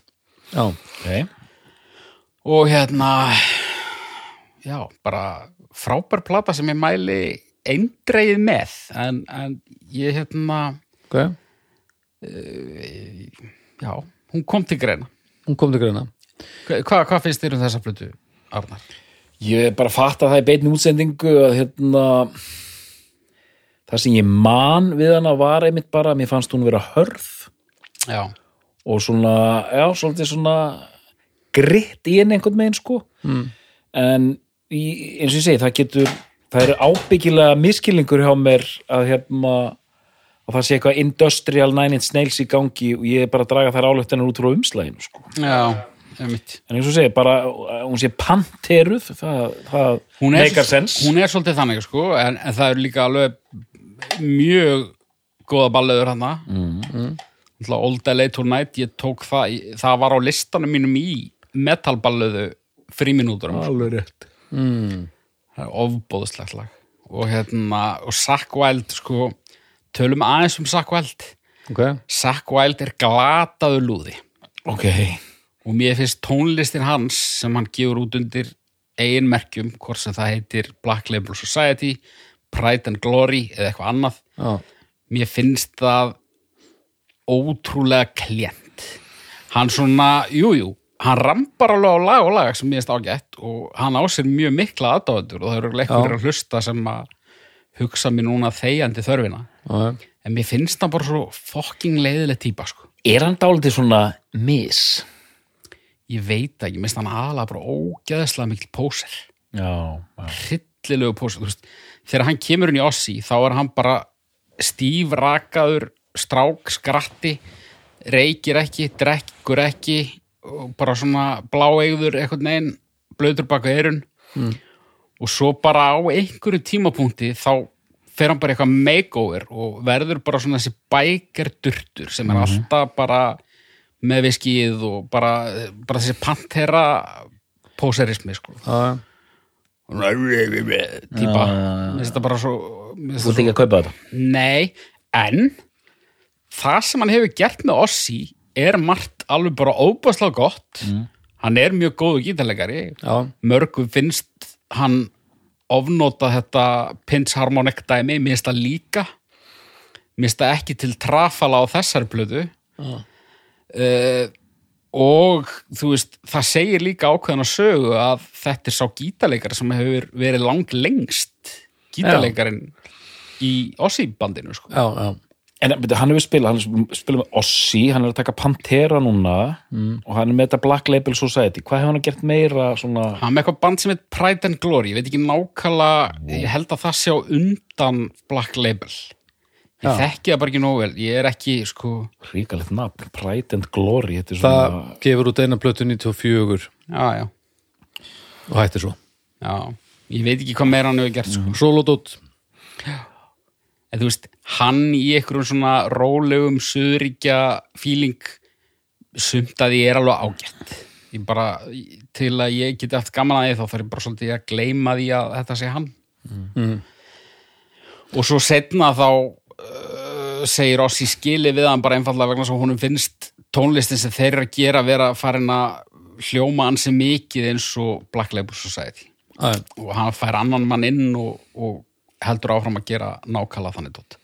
Já,
Okay.
og hérna já, bara frábær plata sem ég mæli eindreið með en, en ég hérna
ok,
já, hún kom til greina
hún kom til greina.
Hva- hvað hva finnst þér um þessa plötu, Arnar?
Ég er bara að fatta það í beinni útsendingu að hérna það sem ég man við hana var einmitt bara að mér fannst hún vera hörð
já,
og svona, já, svolítið svona gritt í henni einhvern megin sko mm. en í, eins og ég segi, það getur það eru ábyggilega miskilningur hjá mér að hérna að það sé eitthvað industrial nine inch nails í gangi og ég er bara að draga þær álöftunar út frá umslæginu sko
já, ég mitt
en eins og segja, bara að hún sé panteruð, það, það
hún er,
meikar sens
hún er svolítið þannig sko, en, en það eru líka alveg mjög góða ballöður hann mm, mm. Old LA Tonight, ég tók það í- það var á listanum mínum í metalballöðu fríminúturum
alveg rétt
það er ofbóðslegt lag og hérna, og Zack Wild sko, tölum aðeins um Zack Wild
Ok,
Zack Wild er glataður lúði
ok,
og mér finnst tónlistin hans sem hann gefur út undir eigin merkjum, hvort sem það heitir Black Label Society, Pride and Glory eða eitthvað annað
já,
mér finnst það ótrúlega klient hann svona, jújú jú, hann rambar alveg á lag og lag sem mér finnst ágætt og hann á sér mjög mikla aðdáðundur og það eru leikur að hlusta sem að hugsa mér núna þegjandi þörfina
já,
en mér finnst það bara svo fokking leiðileg típa sko.
er hann dálítið svona mis
ég veit það ekki, mér finnst hann aðalega bara ógeðslega mikil póser
já, já,
hryllilegu pósa þú veist, þegar hann kemur inn í Ossi þá er hann bara stífrakaður strák, skratti reykir ekki, drekkur ekki og bara svona bláeigður eitthvað neginn, blöður baka eyrun og svo bara á einhverju tímapunkti þá fer hann bara í eitthvað makeover og verður bara svona þessi bækerdurtur sem er alltaf bara með viskið og bara, bara þessi pantera póserismi sko
já,
típa mér finnst þetta bara svo, mér finnst
þú ert
þetta
ekki að kaupa þetta
svo nei, en það sem hann hefur gert með Ossi er margt alveg bara óbáslega gott hann er mjög góðu gítalegari
já,
mörgum finnst hann ofnota þetta pinch harmonic dæmi, mér finnst það líka mér finnst það ekki til trafala á þessari blöðu uh, og þú veist, það segir líka ákveðan að sögu að þetta er sá gítaleikar sem hefur verið langt lengst gítaleikarinn í Ossi bandinu sko.
já, já.
en beti, hann hefur spilað, hann hefur spilað með Ossi hann er að taka Pantera núna og hann er með þetta Black Label Society hvað hefur hann gert meira svona
Hann er með eitthvað band sem heit Pride and Glory, ég veit ekki nákvæmlega, ég held að það sé á undan Black Label. Ég þekki það bara ekki nógu vel, ég er ekki, sko,
ríkalegt nafn, Pride and Glory þetta er
það
svona,
gefur út eina plötu 94
já, já,
og hættir svo
já, ég veit ekki hvað meira hann hefur gert, sko.
Solodot,
En þú veist, hann í einhverjum svona rólegum suðuríkja fíling sumt að ég er alveg ágætt. Ég bara, til að ég geti haft gaman að því þá þarf ég bara svolítið að gleyma því að þetta sé hann. Og svo setna þá uh, segir Ossi skili við hann bara einfallega vegna svo honum finnst tónlistin sem þeir eru að gera vera farin að hljóma ansi mikið eins og Black Label Society
að,
og hann fær annan mann inn og, og heldur áfram að gera nákala þannig tótt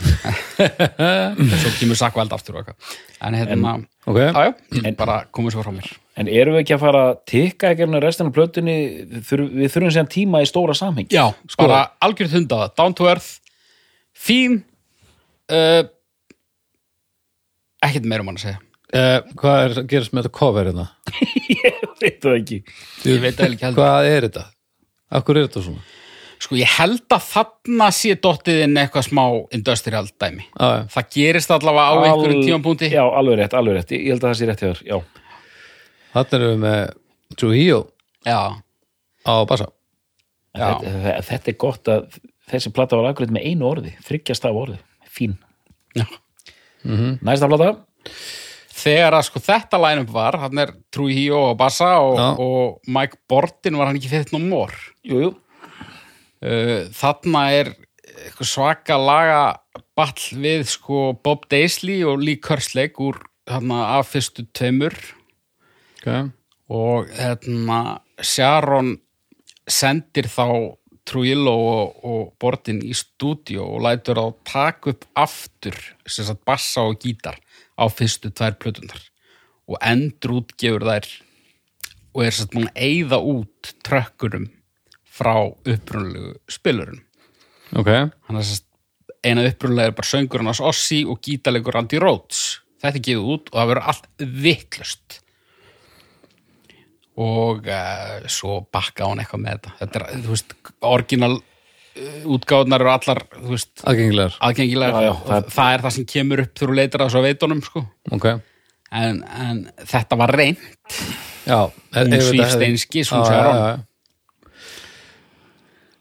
svo kemur sakku eld aftur og eitthvað en hérna,
ok,
jájá, ég bara komið svo frá mér
en erum við ekki að fara að tikka ekki hérna restina af plötunni Þurf- við þurfum séðan tíma í stóra samhengi
já, sko. bara algjörð hundað, down to earth fín uh, ekkert meira um hann að segja
eh, hvað er að gerast með þetta cover hérna?
veit það ekki
ég veit það ekki heldur
Hvað er þetta? Akkur er þetta svona?
sko ég held að þarna sé dottið inn eitthvað smá industrial dæmi
Já, já.
það gerist allavega á einhverjum tímapunkti
já, alveg rétt, alveg rétt, ég held að það sé rétt hjá þér já,
Þannig erum við með Trujillo
já.
á bassa
En þetta, þetta er gott að þessi plata var akkurat með einu orði þryggjast af orði, fín
Já.
næsta plata
þegar að sko þetta line-up var hann er True Hio og Bassa og,
Já.
og Mike Borden var hann ekki fett nú mór
jú, jú.
uh, þarna er eitthvað svaka laga ball við sko Bob Daisley og Lee Kerslake úr þarna af fyrstu tveimur
okay.
og hérna Sharon sendir þá Trujillo og, og Bordin í stúdíó og lætur að taka upp aftur sem sagt bassa og gítar á fyrstu tvær plötunar og endur útgefur þær og er satt múin að eyða út trökkunum frá upprunalegu spilurinn
ok,
hann er sérst eina upprunalega er bara söngurinn hans Ossi og gítalegur Andy Rhodes þetta er gefið út og það verður allt vittlust og uh, svo bakka hún eitthvað með þetta þetta er, þú veist, orginal uh, útgáðnar eru allar, þú veist
aðgengilegar
aðgengilega,
Já, já, það
það,
er-
er það sem kemur upp þegar þú leitar að svo veitunum sko.
ok,
en, en þetta var reynd
já e-
Hún svífst einskis, hún sagði hann.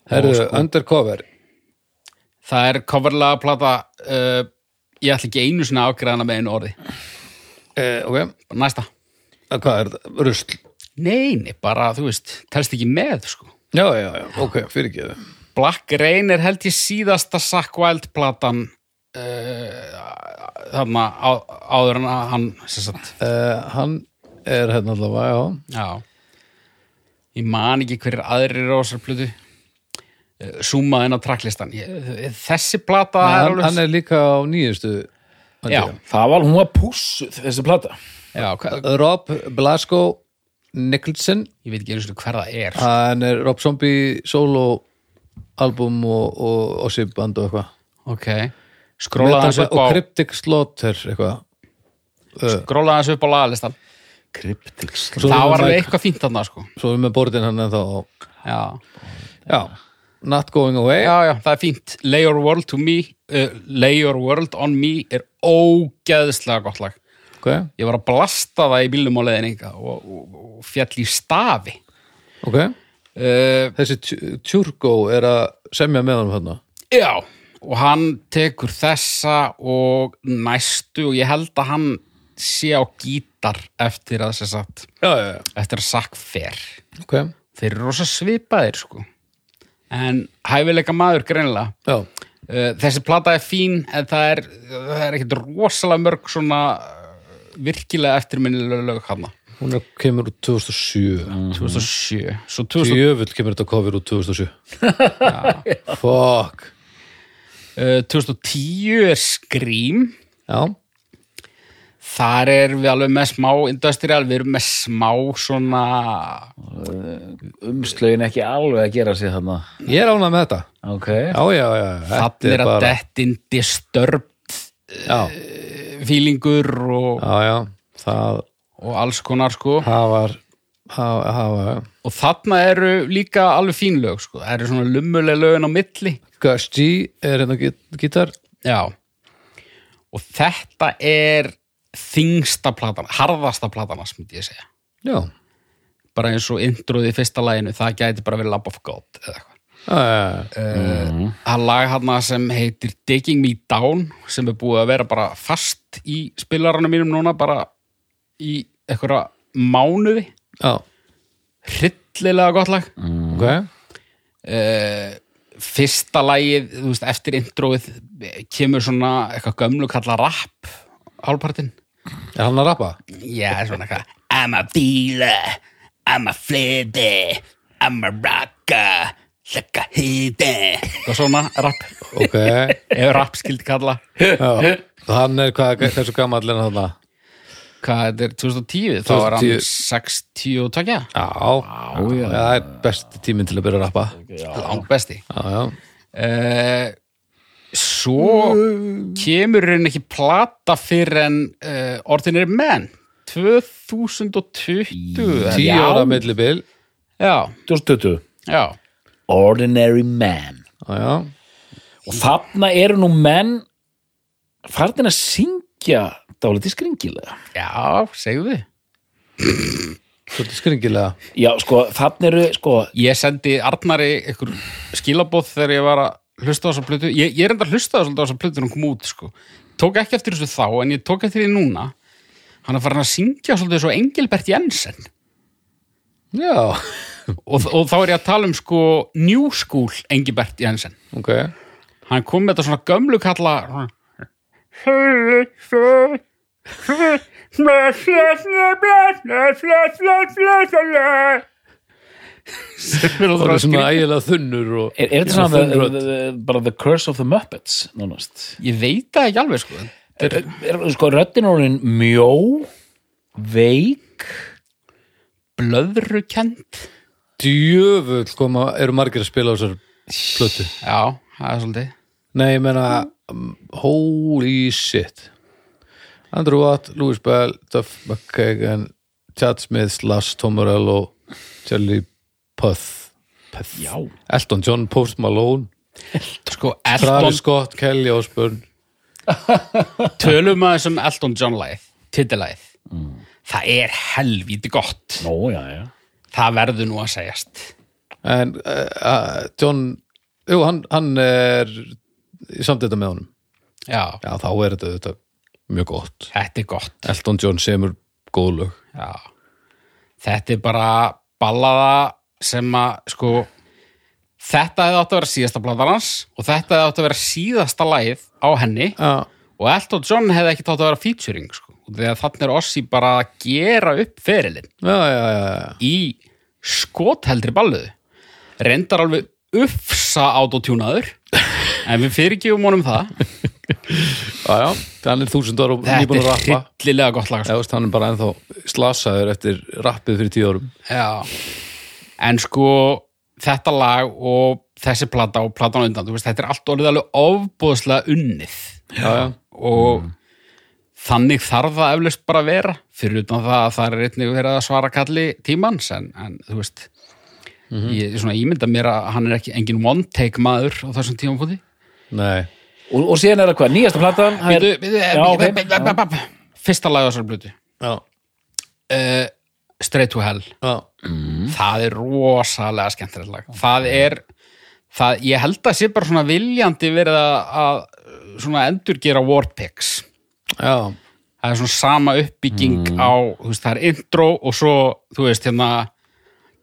Herðu, undercover
það er coverlega plata uh, ég ætla ekki einu sinni að afgreða hana með einu orði
eh, ok,
Bara næsta
að hvað er þetta? Rusl
Nei, nei, bara, þú veist, telst ekki með, sko.
já, já, já, ok, fyrir ekki þau
Black Rain er held ég síðasta Zack Wild platan uh, þarna á, áður en að hann, sem sagt,
E, hann er hérna allavega, já
já. Ég man ekki hverjir aðrir eru á þessar plötu. Súmað inn á tracklistan. Ég, eh, þessi plata
Nei,
er
hann,
alveg...
hann er líka á nýjustu
já,
það var hún var pússuð þessi plata
já, hvað,
Rob Blasco Nicholson
ég veit ekki einu svona hver það er.
hann er Rob Zombie solo album og, og Ossi band og eitthvað
Ok. Skrólaði hans
Metal-
upp á...
og Cryptic Slaughter eitthvað
Skrólaði hans upp á lagalistan.
Cryptic Slaughter.
Svo
Það
erum
var
við
alveg
með-
eitthvað fínt þarna, sko.
svo erum við með borðin hann ennþá og-
Já.
já, Not Going Away
já, já, það er fínt Lay Your World to Me uh, Lay Your World on Me er ógeðslega gott lag
ok,
ég var að blasta það í bílum á leiðin enga og, og, og fjall í stafi
ok
uh,
þessi Tj- Tjurgo er að semja með honum hann
já og hann tekur þessa og næstu og ég held að hann sé á gítar eftir að sem sagt
já, já, já
eftir að sakk fer
ok,
þeir eru rosa svipaðir sko en hæfileika maður greinilega
já,
Uh, þessi plata er fín en það er, það er ekkert rosalega mörg svona uh, virkilega eftirminnilega lög hana
hún er, kemur úr 2007
Mm. 2007 svo 2000,
djöfull kemur þetta cover úr 2007 fuck
uh, 2010 er Scream
já,
þar er við alveg með smá industrial, við erum með smá svona
umslögin ekki alveg að gera sér þarna
ég er ánað með þetta
ok,
já, já, já, já,
það
þetta
er að
bara
dettin disturbed
já,
fílingur og,
já, já það,
og alls konar sko
það var það, það var
og þarna eru líka alveg fín lög sko, það eru svona lumuleg lögin á milli
Gus G er hérna gít- gítar
já og þetta er þingsta platan, harðasta platan myndi ég segja,
já,
bara eins og introði í fyrsta laginu, það gæti bara verið Lab of God eða eitthvað
já, já, já.
að lag hann sem heitir Digging Me Down sem er búið að vera bara fast í spilaranum mínum núna bara í einhverja mánuði
já,
hryllilega gott lag
ok
Eh, fyrsta lagið, þú veist, eftir introið kemur svona eitthvað gömlu kalla rap hálpartin
er hann að rappa?
já, svona eitthvað I'm a dealer, I'm a flirty I'm a rocker like a hidden og svona rap
ok,
ef rap skildi kalla
já hann er hvað, hversu gamall er hann þarna?
hvað þetta er 2010 þá var hann
2010.
62
já, já, það er besti tíminn til að byrja að rappa
langt besti
já, já,
uh, svo kemur henni ekki plata fyrir en uh, orðin er menn 2020
tíu
já,
ára millibil
já,
2020
já,
Ordinary Man
já, já
og þarna eru nú menn farin að syngja dálítið skringilega
já, segðu þið
Svolítið skringilega.
já sko þarna eru sko
ég sendi Arnari ykkur skilabóð þegar ég var að hlusta á þessa plötu ég, ég er enda að hlusta svolítið á þessa plötu þegar hún kom út sko. tók ekki eftir þessu þá en ég tók eftir því núna hann er farin að syngja svolítið svo Engilbert Jensen
Já,
og, og þá er ég að tala um sko New School Engilbert Jensen
ok.
hann kom með þetta svona gömlu kalla svona, sem er
Það
ótrúlega
er svona
skrýtið.
ægilega þunnur og...
er, er þetta
Já,
svona the,
þunnrödd.
the, the, bara The Curse of the Muppets nánast
ég veit það ekki alveg sko
er, er, sko röddin orðin mjó veik
blöðrukend
Djöfull koma, eru margir að spila á þessar plötu.
já, það er svolítið
Nei, ég meina, um, holy shit. Andrew Watt, Louis Bell, Duff McKagan, Chad Smith, Slash Tomorello, Charlie Puth, Puth.
já
Elton John, Post Malone,
sko, Elton,
Travis Scott, Kelly Osbourne.
tölum að þessum Elton John lagið, titilæð það er helvíti gott
Nó, já, já.
það verður nú að segjast
En uh, uh, John, jú, hann, hann er samt þetta með honum.
já,
Já, þá er þetta, þetta mjög gott.
þetta er gott
Elton John semur góð lög.
Já. Þetta er bara ballaða sem að sko þetta hefði átt að vera síðasta bladar hans og þetta hefði átt að vera síðasta lagið á henni
Já,
og Elton John hefði ekki átt að vera featuring sko. Og þegar þannig er Ossi bara að gera upp ferilinn
já, já, já, já.
í skotheldri balluðu reyndar alveg ufsa autotúnaður en við fyrirgefum honum það
já, já. Hann er þúsundar og
þetta
nýbúin að
er
rappa.
hryllilega gott lag sko.
Já, veist, hann er bara ennþá slasaður eftir rappið fyrir tíu árum.
Já, en sko þetta lag og þessi plata og platan á undan, þú veist, þetta er allt orðið alveg ofbóðslega unnið
Já, já.
og þannig þarf það eflaust bara að vera fyrir utan það að það er einnig verið að svara kalli tímans en, en þú veist
Mhm.
ég svona ímynda mér að hann er ekki engin one take maður á þessum tímafóti
Nei.
Og, og síðan er það hvað, nýjasta platan það er- Já, ok.
Fyrsta lag á þessar blötu
Já,
uh, Straight to Hell
já.
Mm.
það er rosalega skemmtilegt lag það er það, ég held að sé bara svona viljandi verið að, að svona endurgera Warpix
Já,
það er svona sama
Mm.
uppbygging á þú veist, það er intro og svo þú veist hérna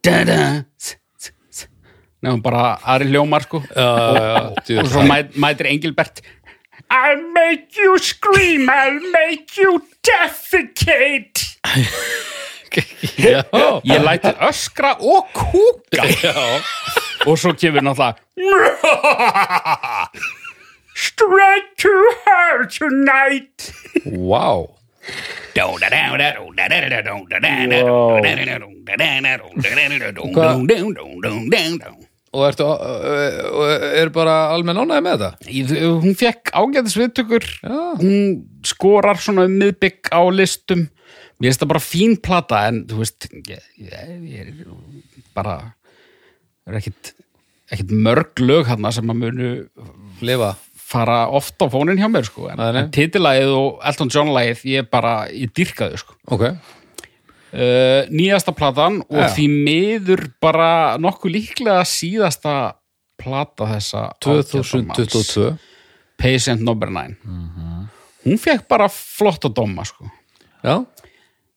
da-da, s- s- s- nefnum bara aðri hljómar sko
já, já, já. djú.
og svo mæ, mætir Engilbert I'll make you scream I'll make you defecate
Já,
ég læti öskra og kúka og svo kemur náttúrulega straight to hell tonight
vá. og, ertu, uh, og er bara almenn ánægði með þetta
Í- Hún fekk ágæðis viðtökur
Já.
Hún skorar svona um miðbygg á listum Mér finnst það bara fín plata en þú veist ég, ég, ég er bara er ekkit, ekkit mörg lög hann sem að munu
lifa
fara oft á fónin hjá mér sko. en,
Nei, nei.
en titilagið og Elton John lagið ég bara, ég dýrkaði sko.
ok,
uh, nýjasta platan og
Já.
því miður bara nokkuð líklega síðasta plata þessa ágæta manns.
2022
Patient number 9 hún fekk bara flotta dóma sko.
já,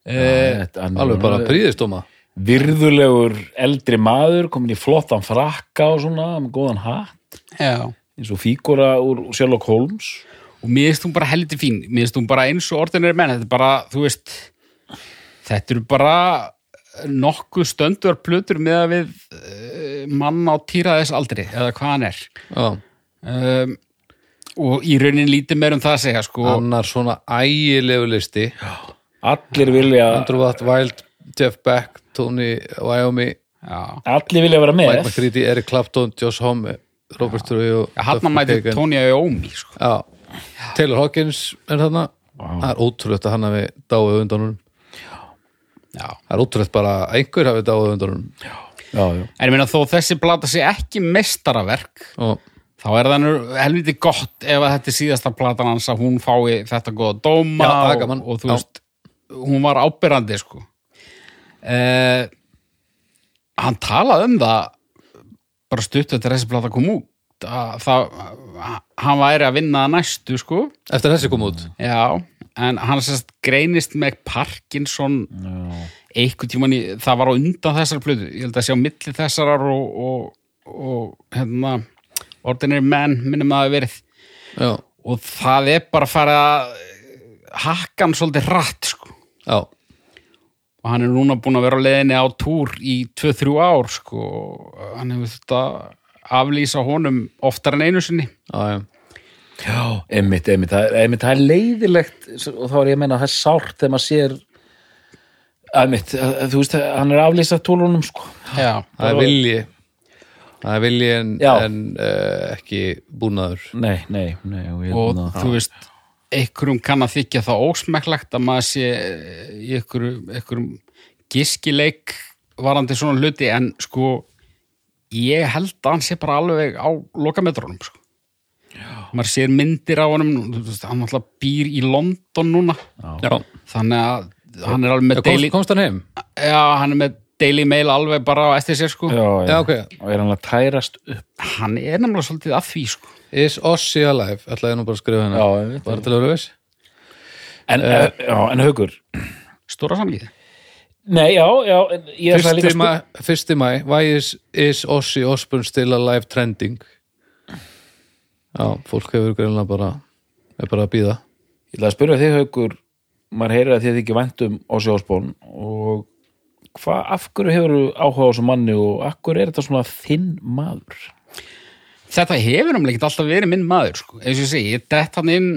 Þetta-
alveg bara príðistóma
virðulegur eldri maður komin í flottan frakka og svona með góðan hatt
já
eins og fígura úr Sherlock Holmes
og mér finnst hún bara heldur fín mér finnst hún bara eins og ordinari menn þetta er bara, þú veist þetta eru bara nokkuð stöndur plötur með að við uh, mann á týraðis aldri eða hvað hann er
já.
um, og í raunin lítið meir um það að segja sko
annar svona ægilegu listi
allir vilja,
Andrew Watt, Wild, Jeff Beck Tony Wyoming,
já.
allir vilja vera
Mike
með
McCready, Eric Clapton Josh Homme, Robert Trujillo
Já, hann
Duff
mæti
McKagan.
Tónia Jómi sko.
Já, Taylor Hawkins er þarna Það er ótrúlegt að hann hafi dáið undanum
Já.
Það er ótrúlegt bara að einhver hafi dáið undanum
já, já.
En ég meina þó þessi plata sé ekki mestaraverk
og
þá er það nú helviti gott ef að þetta er síðasta platan hans að hún fái þetta góða dóma
Já, það er
og,
gaman.
og þú
Já.
veist, hún var ábyrrandi sko eh, Hann talaði um það bara stutt eftir að þessi plata kom út að það, hann væri að vinna að næstu sko
eftir þessi kom út
Já, en hann sérst greinist með Parkinson einhvern tímann í, það var á undan þessar plötu, ég held að sjá milli þessarar og, og, og hérna, Ordinary Man minnum að hafi verið
Já,
og það er bara að fara að hakka hann svolítið rætt sko.
já,
og hann er núna búin að vera á leiðinni á túr í 2-3 ár sko. og hann hefur þetta aflýsa honum oftar en einu sinni
já, já.
Já, einmitt, einmitt, það er, einmitt, það er leiðilegt og þá er ég að meina að það er sárt þegar maður sér einmitt, að- að þú veist, að hann er aflýsað tólunum sko.
Já,
Það er vilji Það er vilji en,
Já.
en uh, ekki búnaður
Nei, nei, nei og, ég,
og
Hérna.
na,
þú veist einhverjum kann að þykja það ósmekklegt að maður sé eh, í einhverjum, einhverjum giskileik varandi svona hluti en sko ég held að hann sé bara alveg á lokametrónum sko. maður sér myndir á honum þú veist, hann alltaf býr í London núna
Já,
þannig að hann er alveg með
já komst,
daily,
komst hann heim?
já, hann er með daily mail alveg bara á eftir sér sko
já, já,
Já, ok,
og er hann að tærast upp
hann er nefnilega svolítið að því sko
is Ossi alive ætlaði nú bara að skrifa hérna. hennar
Já, einmitt.
Bara til að vera veist
en, uh, já, en haugur
stóra samlíði
Nei, já, já, en ég er það líka
Fyrsti
spu-
mæ, fyrsti mæ Why is, is Ossi Osborn still alive trending? Já, fólk hefur greinlega bara er bara að býða
Ég ætla að spyrja þig haugur maður heyrir að þið ekki væntum á sjóspón um og hvað, af hverju hefur áhuga á þessu manni og af hverju er þetta svona þinn maður?
þetta hefur um leikitt alltaf verið minn maður sko. eins og ég segi, ég dett hann inn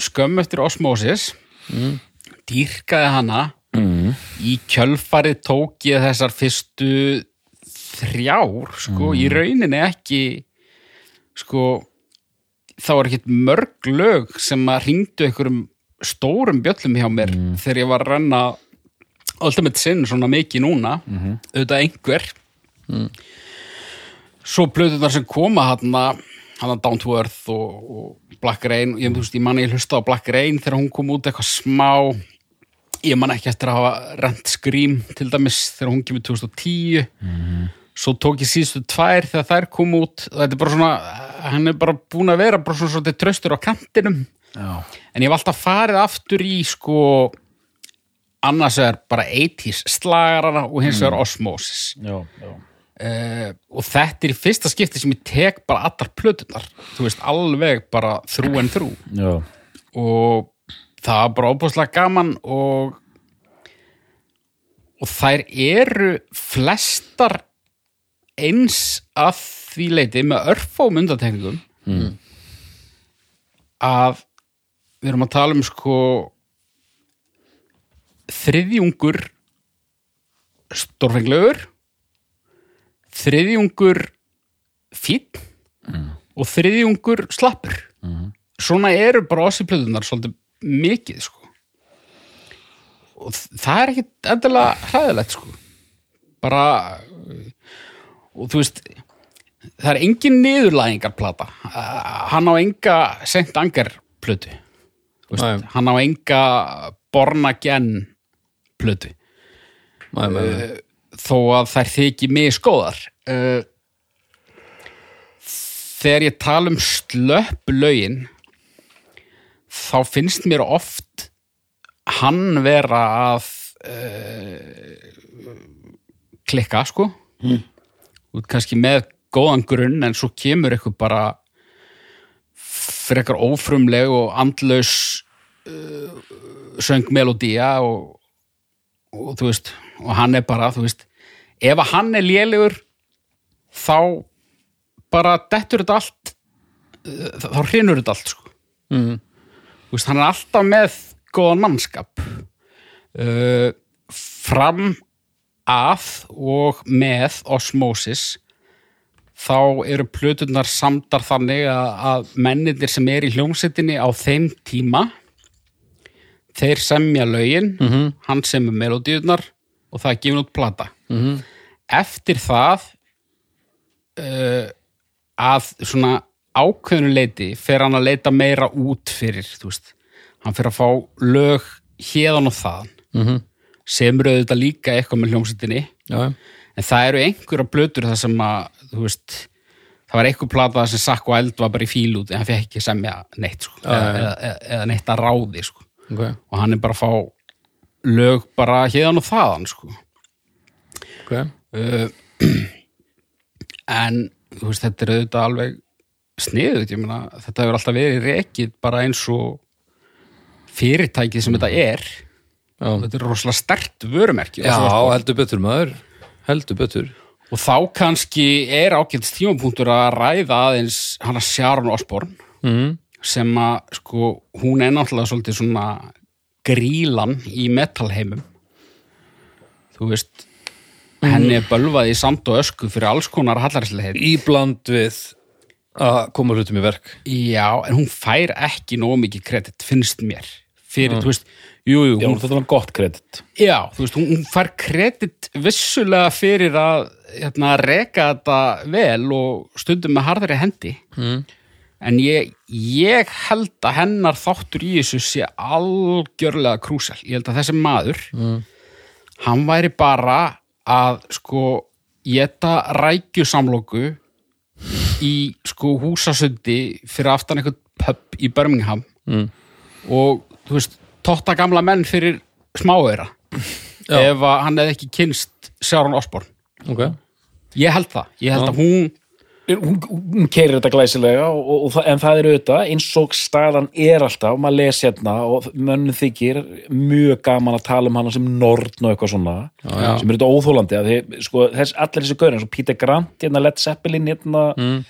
skömmu eftir osmosis dýrkaði hana í kjölfarið tók ég þessar fyrstu þrjár sko, í rauninni ekki sko þá er ekkert mörg lög sem að hringdu einhverjum stórum bjöllum hjá mér þegar ég var að renna Ultimate Sin svona mikið núna auðvitað einhver svo plötunar sem koma hann að Down to Earth og, og Black Rain, ég, þú veist, ég man ég hlusta á Black Rain þegar hún kom út eitthvað smá ég man ekki eftir að hafa rent Scream til dæmis þegar hún kemur 2010 svo tók ég síðustu tvær þegar þær kom út og þetta er bara svona, hann er bara búin að vera bara svona svolítið tröstur á kantinum
Já.
en ég hef alltaf farið aftur í sko annars vegar bara 80s slagarana og hins vegar osmosis
Já, já.
uh, og þetta er í fyrsta skipti sem ég tek bara allar plötunar þú veist alveg bara þrú en þrú
Já,
og það var bara óbúslega gaman og og þær eru flestar eins að því leiti með örfóm undatekningum mm. að við erum að tala um sko þriðjungur stórfenglegur þriðjungur fín og þriðjungur slappur svona eru bara ossiplöðunar svolítið mikið sko og þ- það er ekkit endilega hræðilegt sko bara uh, og þú veist það er engin niðurlæðingarplata Uh, hann á enga sent anger plötu Þú veist,
Nei.
hann á enga borna genn plötu
Nei, nei, nei.
þó að þær þyki misgóðar uh, þegar ég tala um slöppulögin þá finnst mér oft hann vera að uh, klikka sko mm. út kannski með góðan grunn en svo kemur eitthvað bara frekar ófrumleg og andlaus uh, söngmelodía og, og þú veist, og hann er bara, þú veist ef að hann er lélegur þá bara dettur þetta allt uh, þá þá hrinur þetta allt sko. mm. þú veist, hann er alltaf með góðan mannskap uh, fram að og með osmosis þá eru plöturnar samdar þannig að, að mennindir sem er í hljómsettinni á þeim tíma þeir semja lögin hann semur melodíurnar og það er gefin út plata -hmm. eftir það uh, að svona ákveðnu leiti fer hann að leita meira út fyrir þú veist. hann fer að fá lög hérðan og þaðan -hmm. semur auðvitað líka eitthvað með hljómsettinni
Já, já.
en það eru einhverja blötur þar sem að þú veist, það var einhver plata þar sem Sakko Eld var bara í fíl út en hann fekk ekki semja neitt sko, eða, eða, eða neitt að ráði sko.
Ok.
og hann er bara að fá lög bara hérðan og þaðan sko.
ok.
en þú veist, þetta er auðvitað alveg sniðut, ég meina þetta hefur alltaf verið rekið bara eins og fyrirtækið sem þetta er
Mm. Já.
þetta er rosalega stert vörumerki
Já,
rosalega
heldur betur maður heldur betur
Og þá kannski er ágætt tímapunktur að ræða aðeins hana Sharon Osborn
mm.
sem að sko hún er náttúrulega svolítið svona grílan í metalheimum. Þú veist, henni er bölvað í samt og ösku fyrir alls konar hallarsleir.
Íbland við að koma hlutum í verk
Já, en hún fær ekki nóg mikið kredit, finnst mér. Fyrir, þú veist, jú, jú,
Já,
hún,
þetta var gott kredit.
já, þú veist, hún, hún fær kredit vissulega fyrir að hérna, reka þetta vel og stundum með harðari hendi.
mm.
en ég, ég held að hennar þáttur í þessu sé algjörlega krúsal ég held að þessi maður
Mm.
hann væri bara að sko geta rækjusamlóku í sko húsasundi fyrir aftan eitthvað pub í Birmingham
Mm.
og þú veist, totta gamla menn fyrir smáveira
Já.
ef að hann hefði ekki kynst Sjáron Osborn
Ok,
ég held það, ég held
Já.
að hún
Hún, hún keirir þetta glæsilega og, og, það- en það er auðvitað eins og staðan er alltaf, maður les hérna og mönnum þykir mjög gaman að tala um hana sem nortn og eitthvað svona
já.
sem er þetta óþólandi að þið, sko, þess, allir þessi gaurin, svo Peter Grant hérna, Led Zeppelin hérna,
Mm.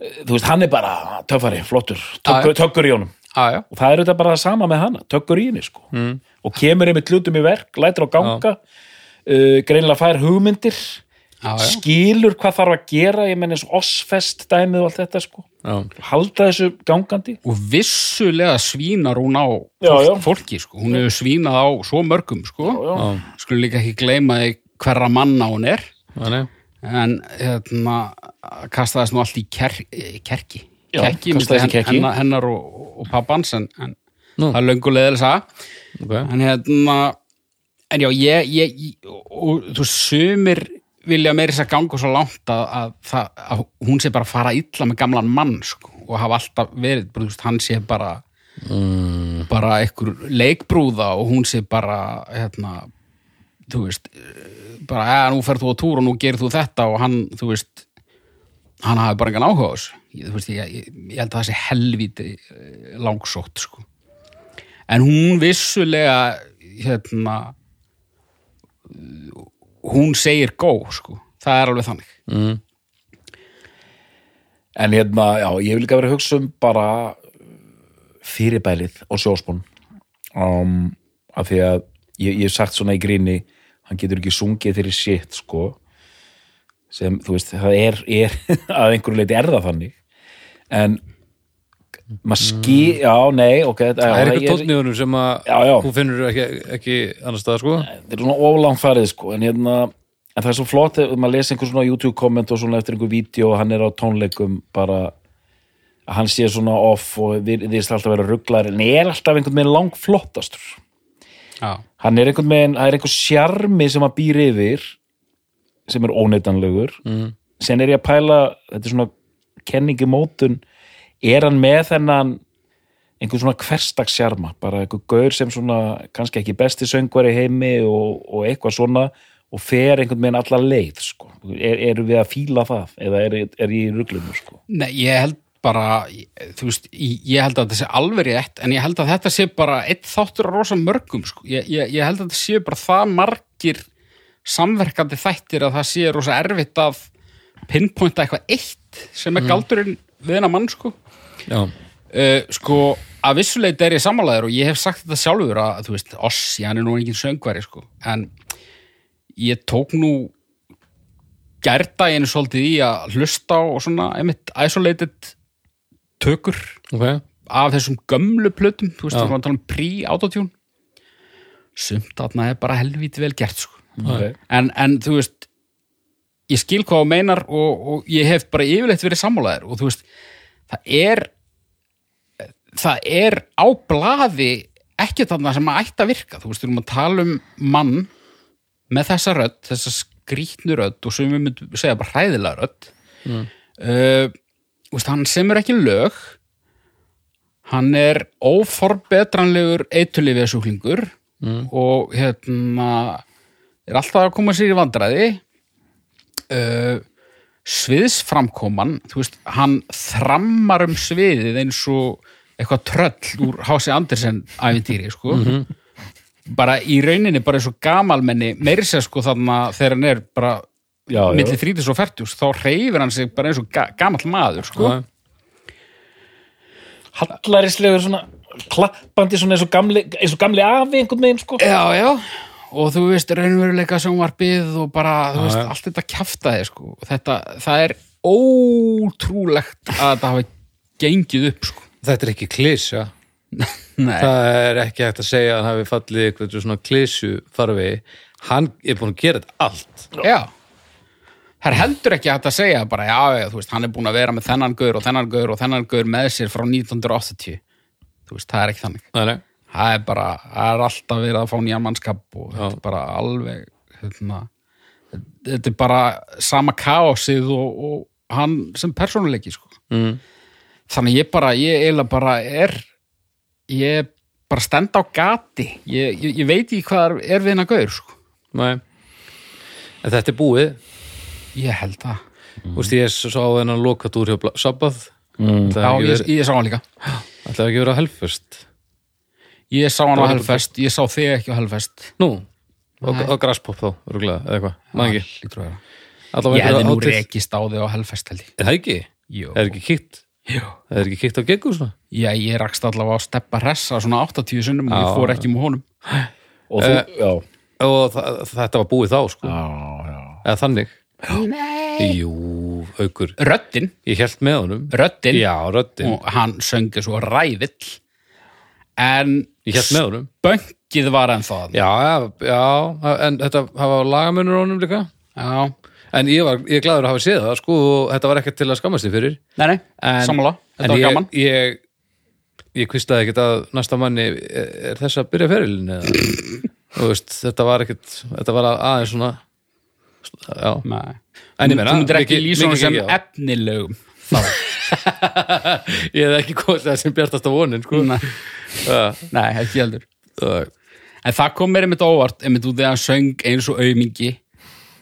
eh, þú veist, hann er bara töffari, flottur,
Já, já.
tökkur, tökkur í honum
aðja,
og það er auðvitað bara það sama með hana tökkur í henni sko
Mm.
og kemur einmitt hlutum í verk, lætur á ganga uh, greinilega fær hugmyndir
Já, já.
skilur hvað þarf að gera ég menn eins og ossfest dæmið og allt þetta sko
já,
halda þessu gangandi
og vissulega svínar hún á
Já,
fólk,
já.
fólki, sko. hún hefur svínað á svo mörgum, sko
já.
skulum líka ekki gleyma því hverra manna hún er
þannig
en hérna kastaðist nú allt í ker, eh, kerki
Já,
kerki,
kastaðist í
milli
kerki.
hennar, hennar og, og pappans en, en
Nú.
það er löngulegðilega sá
okay.
en hérna en já, ég, ég, ég og, og þú veist, sumir vilja meira þess að ganga svo langt að, að, það, að hún sé bara að fara illa með gamlan mann sko, og hafa alltaf verið, bara, þú veist, hann sé bara mm. bara einhver leikbrúða og hún sé bara hérna, þú veist eh, bara, eða, nú ferð þú á túr og nú gerir þú þetta og hann, þú veist hann hafi bara engan áhuga á þessu ég, þú veist, ég, ég, ég held að það sé helvíti eh, langsótt, sko en hún vissulega hérna hún segir gó sko, það er alveg þannig
en hérna, já, ég vil líka vera að hugsa um bara fyrirbælið og sjóspún um, af því að ég, ég hef sagt svona í gríni hann getur ekki sungið þeirri sitt sko sem, þú veist, það er, er að einhverju leiti er það þannig en maður ský, já, nei, ok þetta-
Mm. Það
já,
er eitthvað tóttnýðunum sem að
Já, já.
þú finnur ekki, ekki annars staðar sko
þetta er svona ólanfarið sko, en hérna en það er svo flott ef maður lesi einhver svona YouTube komment og svona eftir einhver vídeo og hann er á tónleikum bara að hann sé svona off og við þýrst alltaf vera rugglar en er alltaf einhvern veginn langflottastur
já,
hann er einhvern veginn, það er einhver sjarmi sem hann býr yfir sem er óneitanlegur mm. sen er ég að pæla, þetta er svona kenningi mótun, er hann með þennan einhvern svona hverstagsjarma, bara einhver gaur sem svona kannski ekki besti söngvar í heimi og, og eitthvað svona og fer einhvern veginn alla leið sko. er, eru við að fíla það eða er, er ég í ruglunum sko.
Nei, ég held bara, þú veist, ég held að þetta sé alveg rétt, en ég held að þetta sé bara eitt þáttur að rosa mörgum, sko. Ég, ég, ég held að þetta sé bara það margir samverkandi þættir að það sé rosa erfitt að pinpointa eitthvað eitt sem er galdurinn við hennar mann, sko.
Já,
Uh, sko, að vissuleiti er ég sammálaður og ég hef sagt þetta sjálfur að, þú veist, oss, ég hann er nú engin söngvari, sko, en ég tók nú gærdaginn svolítið í að hlusta á og svona, einmitt, isolated tökur
ok
af þessum gömlu plötum, þú veist,
Já.
það var að tala um pre-autotune sumt þarna er bara helvíti vel gert, sko
okay.
en, en þú veist ég skil hvað þú meinar og, og ég hef bara yfirleitt verið sammálaðir og þú veist, það er það er á blaði ekki þarna sem að ætti að virka þú veist, við erum að tala um mann með þessa rödd, þessa skrýtnu rödd og sem við myndum segja bara hræðilega rödd mm. veist, hann semur ekki lög hann er óforbetranlegur eitulifið sjúklingur og hérna er alltaf að koma sér í vandræði uh, sviðsframkoman þú veist, hann þrammar um sviðið eins og eitthvað tröll úr H.C. Andersen æfintýri, sko bara í rauninni, bara eins og gamalmenni meiri sér sko þarna þegar hann er bara
já, já.
milli þrítis og færtus, þá reyfir hann sig bara eins og ga gamall maður, sko
Já.
hallarislegur svona klappandi svona eins og gamli, eins og gamli afi einhvern veginn sko.
Já, já, og þú veist raunveruleika sjónvarpið og bara þú veist,
já.
allt þetta kjaftaði sko. þetta, það er ótrúlegt að þetta hafi gengið upp sko.
Þetta er ekki klísja
Nei,
Það er ekki hægt að segja að hann hafi fallið eitthvað svona klísju farvegi Hann er búin að gera þetta allt
já Það er heldur ekki hægt að segja bara, já, já, þú veist, hann er búin að vera með þennan gaur og þennan gaur og þennan gaur með sér frá 1980 þú veist, það er ekki þannig
Nei, nei,
það er bara, það er alltaf verið að fá nýja mannskap og þetta
Já.
er bara alveg hérna, þetta er bara sama kaosið og, og hann sem persónuleiki sko.
mm.
þannig ég bara, ég eiginlega bara er ég bara stend á gati ég, ég, ég veit í hvað er við hennar gaur sko.
nei. En þetta er búið
ég held það
Þú veist, ég sá þennan lokatúr hjá Bla- Sabbað mm. Það
Já,
er ekki
ég,
verið-
ég sá hann líka
ætlaði ekki verið að helfust
ég sá hann
Það
á
var
Hellfest, ég sá þig ekki á Hellfest
Nú, og, og grasspop þá, rúglega, eða eitthvað, maður ekki
Hlýtur að vera.
Allavega
ég hefði
einhverja
nú
hátíð.
rekist á þig á Hellfest held ég
Er Það ekki?
Jú.
Það er ekki kíkt?
Jú.
Það er ekki kíkt á geggu svona?
Já, ég rakst allavega á steppa hressa svona 80 sinnum og
Já.
ég fór ekki með honum.
og þú, já,
Og það, þetta var búið þá, sko.
já, já.
Eða þannig. Nei. Jú, aukur.
Röddin,
Ég held með honum.
röddin,
Já, röddin.
og hann söngi svo ræðill, en
Ég held með honum.
böngið var ennþá þarna.
Já, já, já, en þetta hafa lagamönur á honum líka.
Já,
En ég var, ég er gladur að hafa séð það, sko, og þetta var ekkert til að skammast þið fyrir.
nei, nei,
En-
sammála, þetta
en
var
ég,
gaman.
Ég, ég kvistaði ekkert að næsta manni er, er þess að byrja ferilin eða, þú veist, þetta var ekkert, þetta var aðeins svona, já.
Nei.
En ég meina,
þú myndir ekki
mikið-
lýsa honum
mikið
sem
gengið á.
efnilegum.
Ég hef ekki kosið það sem bjartast á vonin, sko.
Nei.
Það-
Nei, ekki heldur.
það-
En það kom mér einmitt á óvart, einmitt út þegar hann söng eins og aumingi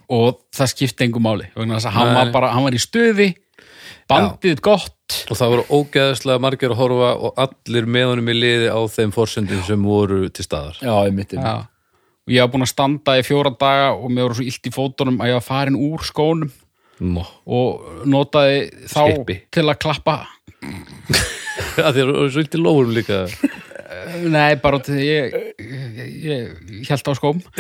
og það skipti engu máli. Vegna þess að hann
Nei.
var bara, hann var í stuði, bandið gott,
Og það voru ógeðslega margir að horfa og allir með honum í liði á þeim forsendum sem voru til staðar.
já, einmitt, einmitt.
Já. Og ég var búin að standa í fjóra daga og mér voru svo illt í fótunum að ég var farin úr skónum
Nó.
og notaði þá
Slippi.
til að klappa.
Það er svolítið lóðum líka.
Nei, bara til ég, ég, ég held á skóm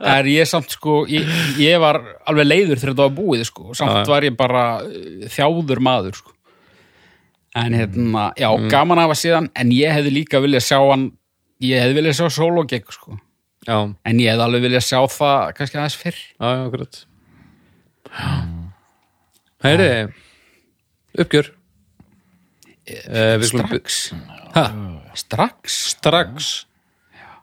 en ég samt sko ég, ég var alveg leiður þegar þetta var búið sko, samt var ég bara eh, þjáður maður sko en hérna, já,
Mm.
gaman að hafa síðan en ég hefði líka viljað sjá hann ég hefði viljað sjá sólogegg sko
já,
en ég hefði alveg viljað sjá það kannski aðeins fyrr
já, já, akkurat Heyri, uppgjör eh, Við skulum
strax,
ha,
strax
strax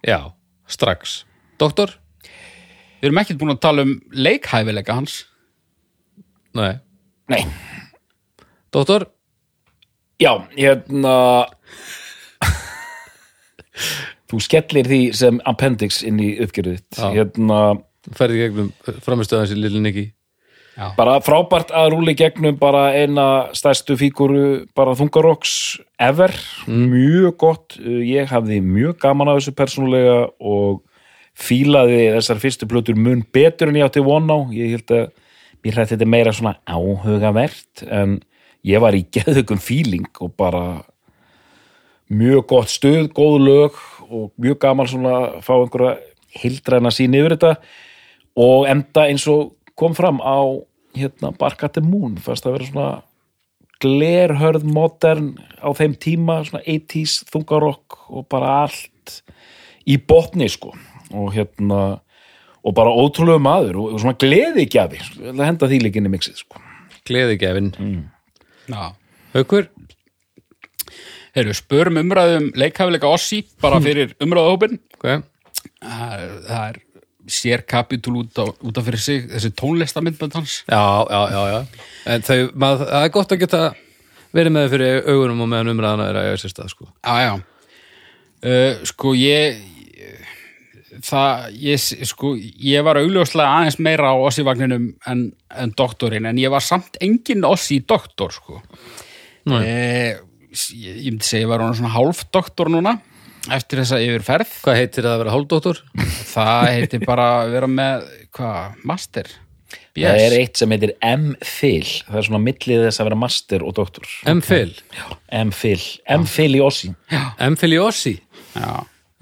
Já, strax Doktor?
við erum ekkert búin að tala um leikhæfileika hans
Nei
Nei,
Doktor?
já, hérna Þú skellir því sem appendix inn í uppgjörðu þitt
Já.
Hérna,
Færði gegnum framistöðans í Lilli Nikki
bara frábært að rúli gegnum bara eina stærstu fíguru bara þungarokks ever, mjög gott ég hafði mjög gaman af þessu persónulega og fílaði þessar fyrstu plötur mun betur en ég átti von á, ég held að mér hrætti þetta meira svona áhugavert en ég var í geðugum fíling og bara mjög gott stuð, góð lög og mjög gaman svona að fá einhverja hildræna sín yfir þetta og enda eins og kom fram á hérna Barkati Moon fannst það vera svona glerhörð modern á þeim tíma svona 80s þungarokk og bara allt í botni sko og hérna og bara ótrúlega maður og, og svona gleðigjafi Ég ætla að henda því líkinni mixið sko
Gleðigefin
já
Haukur?
Heyrðu, spörum umræðum leikhæfileika Ossi bara fyrir umræðahópin
Ok
það er- það er sér kapitúl út, á- út af fyrir sig þessi tónlistamindbönd hans
Já, já, já, já. En þau, maður, það er gott að geta verið með þau fyrir augunum og meðan umræðana er að eiga sér stað, sko.
já, já uh, sko ég það, ég, sko ég var augljóslega aðeins meira á Ossi vagninum en, en doktorinn, en ég var samt engin Ossi doktor, sko uh, ég, ég myndi segja ég var hann svona hálfdoktor núna eftir þessa yfirferð
Hvað heitir það að vera hálfdóttur?
það heitir bara að vera með hvað, master
það er eitt sem heitir M-Phil það er svona millið þess að vera master og doktor
M-Phil.
M-Phil, M-Phil í Ossi
M-Phil í Ossi.
já,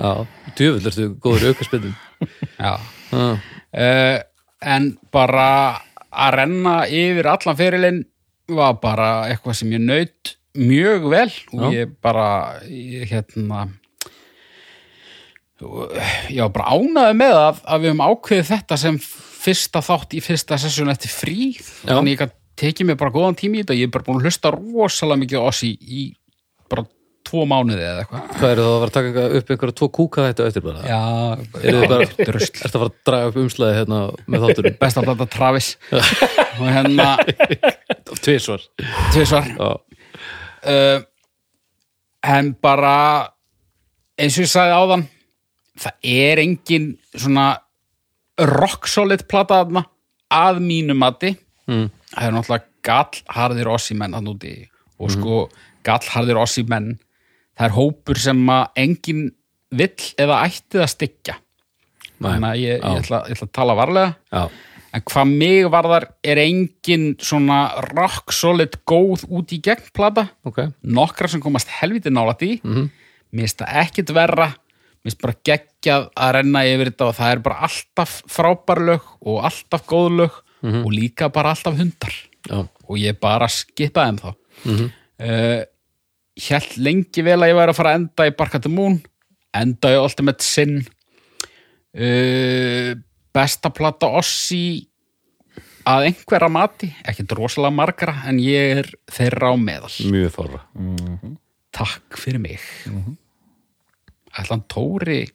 Já, djöfull ertu góður aukaspillum.
já. Uh, en bara að renna yfir allan fyrirlinn var bara eitthvað sem ég naut mjög vel og ég bara ég, hérna ég var bara ánaði með að, að við höfum ákveðið þetta sem fyrsta þátt í fyrsta sessjón eftir frí þannig ég gat tekið mér bara góðan tími í þetta ég er bara búin að hlusta rosalega mikið á ossi í bara tvo mánuði eða eitthvað
Hvað eru það að fara að taka einhver- upp einhverja tvo kúka þetta eftir bara?
Já,
Eru þið bara,
drusl.
ertu að fara að draga upp umslæði hérna með þátturum?
best að blanda Travis og hérna
Tvísvar.
tvisvar
Já,
uh, en bara eins og ég sagði áðan það er engin svona rock solid plata þarna að mínu mati mm. það er náttúrulega gallharðir ossi menn hann úti og sko gallharðir ossi menn það er hópur sem að engin vill eða ættið að styggja þannig
næ,
að ég,
Já.
ég, ætla, ég ætla að tala varlega
já,
En hvað mig varðar er engin svona rock solid góð út í gegn plata.
ok.
Nokkra sem komast helviti nálætt í. Mm -hmm. Mér finnst það ekkit verra. Mér finnst bara geggjað að renna yfir þetta og það er bara alltaf frábærlög og alltaf góðlög og líka bara alltaf hundar.
Já,
Og ég bara skipaði þeim þá. Mm -hmm. Hjælt lengi vel að ég væri að fara að enda í Barkati Moon. Enda í Ultimate Sin. Uh, besta plata Ossi að einhverja mati, ekki rosalega margra en ég er þeirra á meðal
mjög fara.
takk fyrir mig
Mhm.
ætlan Tóri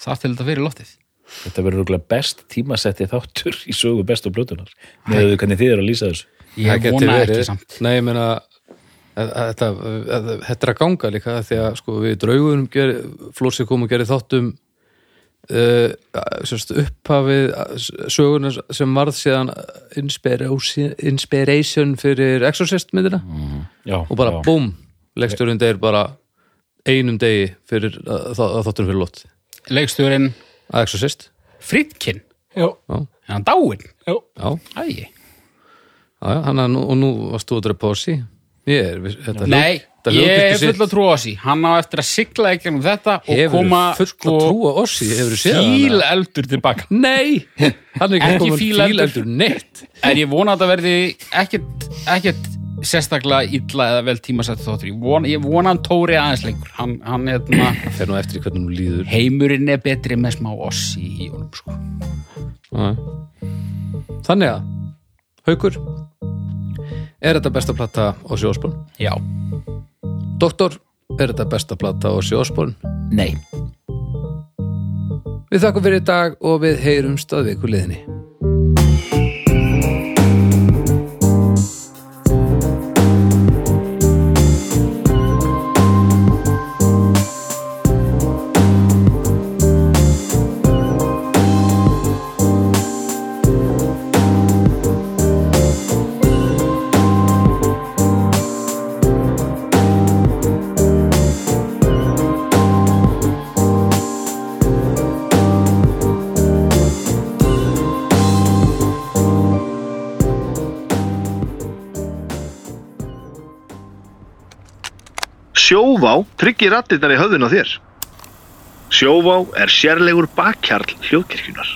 þar til þetta fyrir loftið
Þetta verður rúglega best tímasetti þáttur í sögu bestu blötunar með þau hvernig þið eru að lýsa þessu.
Það
ég
geti
vona
verið.
ekki samt
Nei, ég meina að- að þetta, að þetta er að ganga líka því að sko við draugunum flósið kom og gerði þáttum uh, semst upphafið uh, söguna sem varð síðan inspiration, inspiration fyrir Exorcist myndina
Já,
og bara
já.
búm, legsturinn deyr bara einum degi fyrir að, að þáttunum fyrir lótt
leikstjórin
að Exorcist,
Fridkin,
Já.
er hann dáin
já,
Æi.
já, já hann að nú, og nú varst þú að drepa á sí ég er, viss- þetta
nei,
hitta
Ég er
hljóðkirkju
full að trúa Ossi, hann á eftir að sigla ekki um þetta og
Hefur
koma sko,
full að trúa Ossi, hefur séð hana?
fíl eldur tilbaka
Nei, hann er ekki,
Ekki
ekki
fíleldur.
fíleldur neitt
En ég vona að það verði ekkert, ekkert sérstaklega illa eða vel tímasett þóttur. Ég vona, ég vona hann tóri aðeins lengur. Hann, hann hérna,
Fer nú eftir hvernig hún líður
heimurinn er betri með smá oss í, í honum, sko.
Nei. Þannig að Haukur Er þetta besta plata Ossi Osborn?
Já.
Doktor, er þetta besta plata Ossi Osborn?
Nei.
Við þakkum fyrir í dag og við heyrumst að viku liðinni
Sjóvá tryggir rattirnar í höfðun á þér. Sjóvá er sérlegur bakkjarl hljóðkirkjunar.